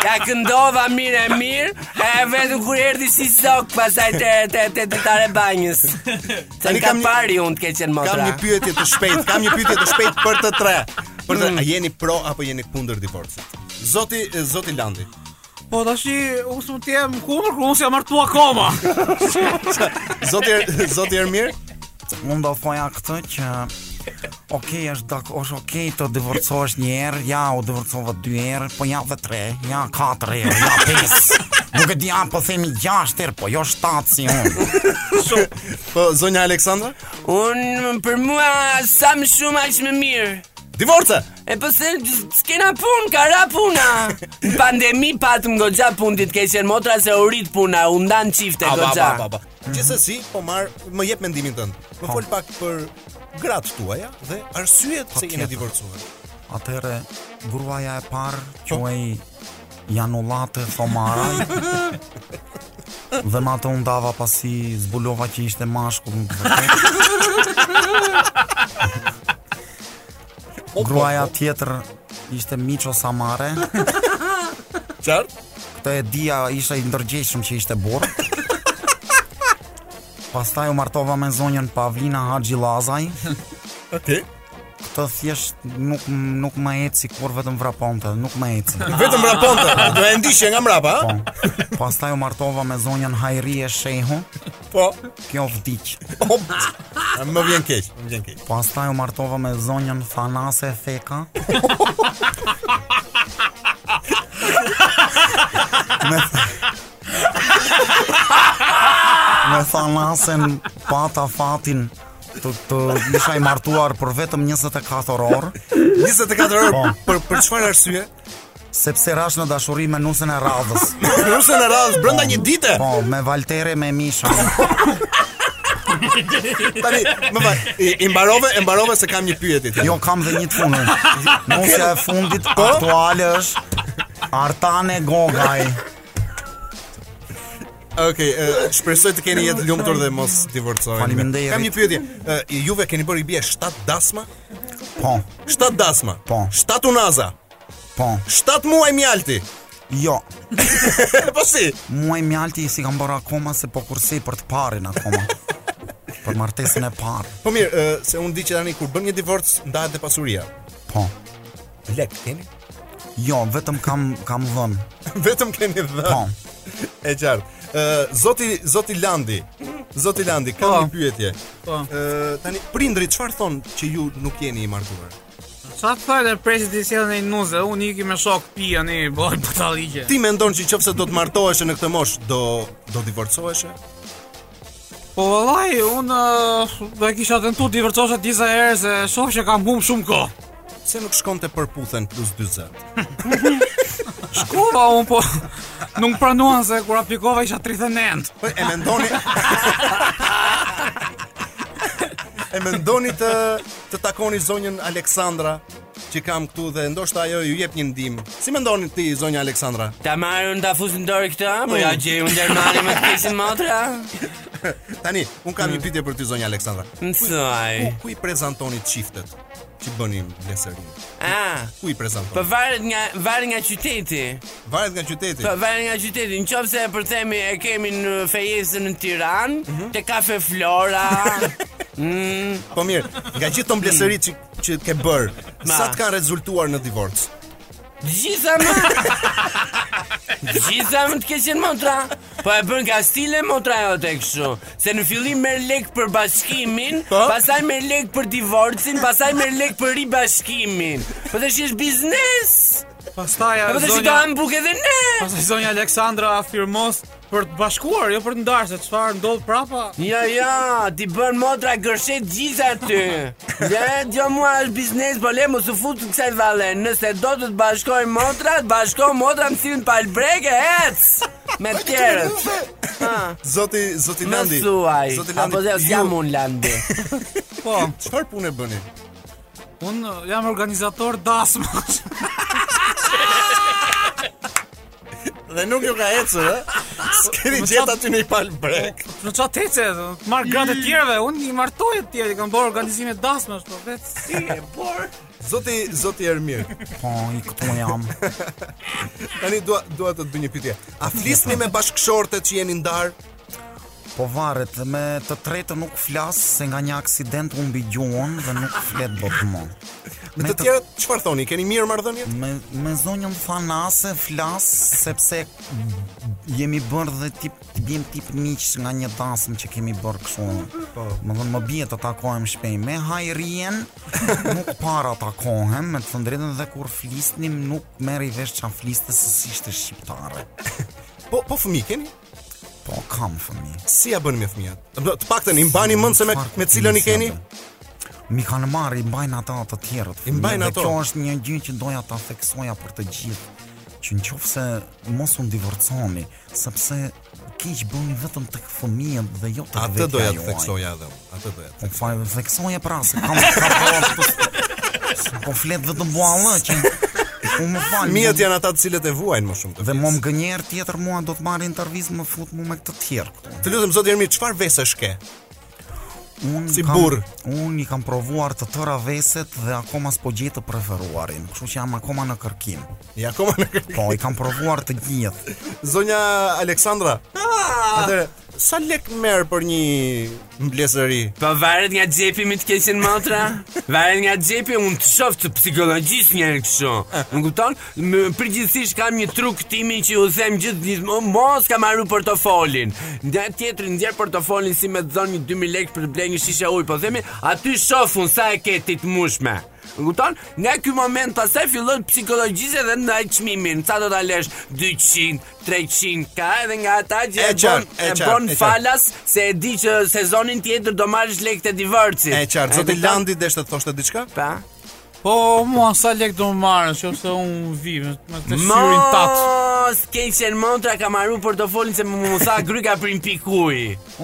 D: ja këndova mire mirë, e vetëm kur erdi si sok, pasaj te, te, te, te tare banjës. Se në
H: Tani
D: ka
H: kam një-
D: pari unë të keqen motra.
H: Kam një pyetje të shpejtë, kam një pyetje të shpejtë për të tre. Për të, a
D: Mm.
H: jeni pro apo jeni kundër divorcit? Zoti Zoti Landi.
G: Po tash unë s'u të jem kundër, kur unë s'jam martu akoma.
H: Zoti Er- Zoti Ermir,
F: Unë do thoja këtë që Okej, është dak, është okej të divorcohesh një herë, ja u divorcova dy herë, po ja dhe tre, ja katër herë, ja pesë. Nuk e di, a po themi 6 herë, po jo 7 si unë.
H: po zonja Aleksandra?
D: Unë për mua sa më shumë aq më mirë.
H: Divorce.
D: E po se s'kena pun, ka ra puna Në pandemi patëm gogja pun ditë keqen motra se u rrit puna U ndanë qifte gogja
H: ba. Gjithsesi, po marr, më jep mendimin tënd.
D: Po.
H: Më fol pak për gratë tuaja dhe arsyet
D: Po,
H: se
F: tjetër.
H: jeni divorcuar.
F: Atëherë gruaja e parë quhej Janullate Thomara. dhe ma të undava pasi zbulova që ishte mashkull në të vërtetë. Gruaja tjetër ishte Micho Samare.
H: Qartë?
F: Këtë e dia isha i ndërgjeshëm që ishte burr. Pastaj u martova me zonjën Pavlina Haxhi Lazaj.
H: Okej.
F: Këtë thjesht nuk nuk më eci kur vetëm vraponte, nuk më eci.
H: Vetëm raponte, do e ndiqje nga mbrapa,
F: Po.
H: ha?
F: Pastaj u martova me zonjën Hajrie Shehu,
H: Po.
F: kjo vdiq.
H: Op. Më vjen keq, më vjen keq.
F: Pastaj u martova me zonjën Thanase Theka. me me Thanasen pata fatin të, të isha i martuar për vetëm 24 orë
H: 24 orë
F: Po.
H: për për çfarë arsye?
F: sepse rash në dashuri me nusën e radhës.
H: Rusën e radhës brenda një dite.
F: Po, me Valtere me Misha.
H: Tani, më fal, i, i mbarove, e mbarove se kam një pyetje tjetër.
F: Jo, kam dhe një të fundin. Nusja e fundit aktuale është Artane Gogaj.
H: Okej, okay, shpresoj të keni jetë lumtur dhe mos divorcoheni.
F: Po, Faleminderit.
H: Kam një pyetje. E, juve keni bërë i bie 7 dasma?
F: Po,
H: 7 dasma.
F: Po.
H: 7 unaza.
F: po,
H: 7 muaj mjalti.
F: jo.
H: E, po si?
F: Muaj mjalti si kam bërë akoma se po kursi për të parin akoma. Për martesën e parë.
H: Po mirë, e, se unë di që tani kur bën një divorc ndahet dhe pasuria.
F: Po.
H: Lek keni?
F: Jo, vetëm kam kam dhënë.
H: Vetëm keni dhënë.
F: Po.
H: E qartë. Ë zoti zoti Landi. Zoti Landi, kam
G: Po.
H: një pyetje.
G: Po.
H: Ë tani prindrit çfarë thonë që ju nuk jeni i martuar?
G: Sa të thajnë e presit i sjellën e nuzë, unë iki me shok pija një boj butalike.
H: Ti mendon që nëse do të martohesh në këtë moshë do do divorcohesh?
G: Po vallaj, unë ë, do e kisha tentu të divorcosha disa herë se shoh që kam humbur shumë kohë.
H: Pse nuk shkon të përputhen plus 40?
G: Shkova unë po nuk pranuan se kur aplikova isha 39.
H: Po e mendoni E mendoni të të takoni zonjën Aleksandra që kam këtu dhe ndoshta ajo ju jep një ndihmë. Si mendoni ti zonja Aleksandra? Mm.
D: Ta marrë unë ta fusë në dorë këta Po ja gjej unë dermani më të keqen motra
H: Tani, un kam një pyetje për ty zonja Aleksandra.
D: Mësoj.
H: Ku, ku i prezantoni çiftet që bënin bleserin?
D: Ah,
H: Ku i
D: po
H: prezantoni?
D: varet nga varet nga qyteti.
H: Varet nga qyteti.
D: Po varet nga qyteti. Nëse e përthemi e kemi në fejesën në Tiranë,
H: Mhm.
D: te kafe Flora.
H: Po mirë, nga gjithë ton bleserit që, që ke bër,
D: Ma.
H: sa të kanë rezultuar në divorc?
D: Gjitha më Gjitha më të keqen motra Po e bën nga stile motra jote kështu Se në fillim merr lek për bashkimin
H: Po?
D: Pastaj merr lek për divorcin Pastaj merr lek për ribashkimin Po të shish biznes
G: Pastaj
D: Po të shi do
G: zonja,
D: hamë buk edhe ne
G: pastaj zonja Aleksandra afirmos për të bashkuar, jo për të ndarë, se çfarë ndodh prapa.
D: Ja, ja, ti bën motra gërshet gjitha ty Ja, jo mua është biznes Po le mos u fut kësaj valle Nëse do të të bashkoj motra Të bashkoj motra më silën palbreke Ec Me tjerët
H: Zoti Zoti
D: Më
H: Landi.
D: thuaj,
H: Zoti
D: apo dhe
H: ju-
D: jam unë landi
G: Po,
H: Çfarë punë bëni?
G: un uh, jam organizator dasmash.
H: Dhe nuk ju ka ecur, ë? S'keni gjetë aty në i pal brek.
G: Në çat ece, të marr gratë të tjerëve, un i martoj të tjerë, i kam bërë organizime dasmash, po vetë si e bor.
H: Zoti Zoti Ermir.
F: Po, i këtu jam.
H: Tani dua dua të të bëj një pyetje. A flisni me bashkëshortet që jeni ndar?
F: Po varet, me të tretë nuk flas se nga një aksident humbi gjuhën dhe nuk flet bot më.
H: Me të tjerët çfarë thoni? Keni mirë marrëdhënie?
F: me, me zonjën Thanase flas sepse jemi bërë dhe tip të bjem tip miqës nga një dasëm që kemi bërë kështu. Po. Më thon më bie të takohem shpejt. Me hajrien nuk para takohem, me të thënë drejtën dhe kur flisnim nuk merri vesh çfarë fliste se si ishte shqiptare.
H: Po po fëmijë keni?
F: Po kam fëmijë.
H: Si ja bën me fëmijët? Do të paktën i mbani mend se me me cilën i keni?
F: Mi kanë marrë, i mbajnë ata të tjerët.
H: I mbajnë
F: Dhe
H: ato.
F: Kjo është një gjë që doja ta theksoja për të gjithë, që në qofë se mos unë divorconi, sepse keq bëni vetëm tek fëmijët dhe jo tek vetja
H: Atë doja të
F: juaj.
H: theksoja edhe. unë, Atë doja. të
F: Po faj, theksoja pra, se kam ka bërë të- Po flet vetëm vallë që unë më fal.
H: Fëmijët janë ata të cilët e vuajnë më shumë. të
F: dhe
H: flisë.
F: më më gënjer tjetër mua do të marr intervistë më fut mua me këtë tjerë këtu.
H: Të lutem zoti Ermir, çfarë vesesh ke?
F: Unë
H: Si
F: kam-
H: burr.
F: Unë i kam provuar të tëra veset dhe akoma s'po gjej të preferuarin, kështu që jam akoma në kërkim.
H: Ja akoma në kërkim.
F: Po, i kam provuar të gjithë.
H: Zonja Aleksandra. Atëre, sa lek merr për një mblesëri?
D: Po varet nga xhepi mi të keqen motra Varet nga xhepi unë të shoh të psikologjist një herë kështu Më kupton? Më përgjithsisht kam një truk timin që ju them gjithë Mos ka marru portofolin Nga tjetëri ndjer portofolin si me të zonë një 2000 lekë për të blej një shisha ujë Po themi aty shoh unë sa e ke ti të mushme Më kupton? Nga ky moment pastaj fillon psikologjisë dhe ndaj çmimin. Sa do ta lesh 200, 300, ka edhe nga ata që
H: E
D: e
H: qartë,
D: bën e
H: e qartë,
D: bën
H: e qartë.
D: falas se e di që sezonin tjetër do marrësh lekët e divorcit.
H: E qartë, zoti
D: kupton?
H: Landi deshte të thoshte diçka?
D: Pa.
G: Po, mua sa lek do më marrën, nëse un vi me me të syrin tat.
D: Mos keqen montra ka marru portofolin se më më tha gry ka prim pikuj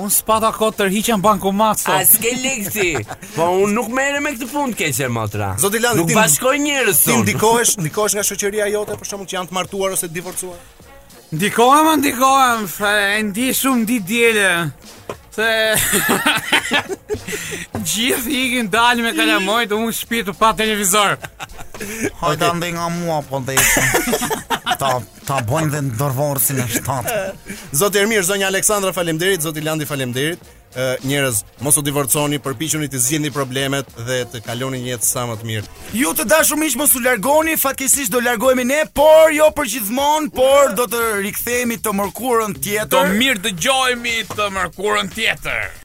G: Un spata kot tërhiqen bankomat
D: A
G: sot.
D: s'ke lekësi Po unë nuk mere me këtë punë keqen montra
H: Zoti Landi,
D: Nuk
H: ti-
D: bashkoj njerëz
H: Ti
D: unë.
H: ndikohesh, ndikohesh nga shoqëria jote për shkakun që janë të martuar ose të divorcuar?
G: Ndikohem, ndikohem, fa, e ndi shumë di djele. Se gjithë ikin dalë me kalamojt, unë shtëpi të pa televizor.
F: Hajde okay. ndaj nga mua, po dhe ta, ta bojnë dhe në dërvorësin e shtatë.
H: Zoti Ermir, zonja Aleksandra, faleminderit, zoti Landi, faleminderit. Ë, njerëz, mos u divorconi, përpiquni të zgjidhni problemet dhe të kaloni një jetë sa më të mirë.
F: Ju të dashur miq mos u largoni, fatkesisht do largohemi ne, por jo për gjithmonë, por do të rikthehemi të mërkurën tjetër.
G: Do mirë dëgjojmë të mërkurën tjetër.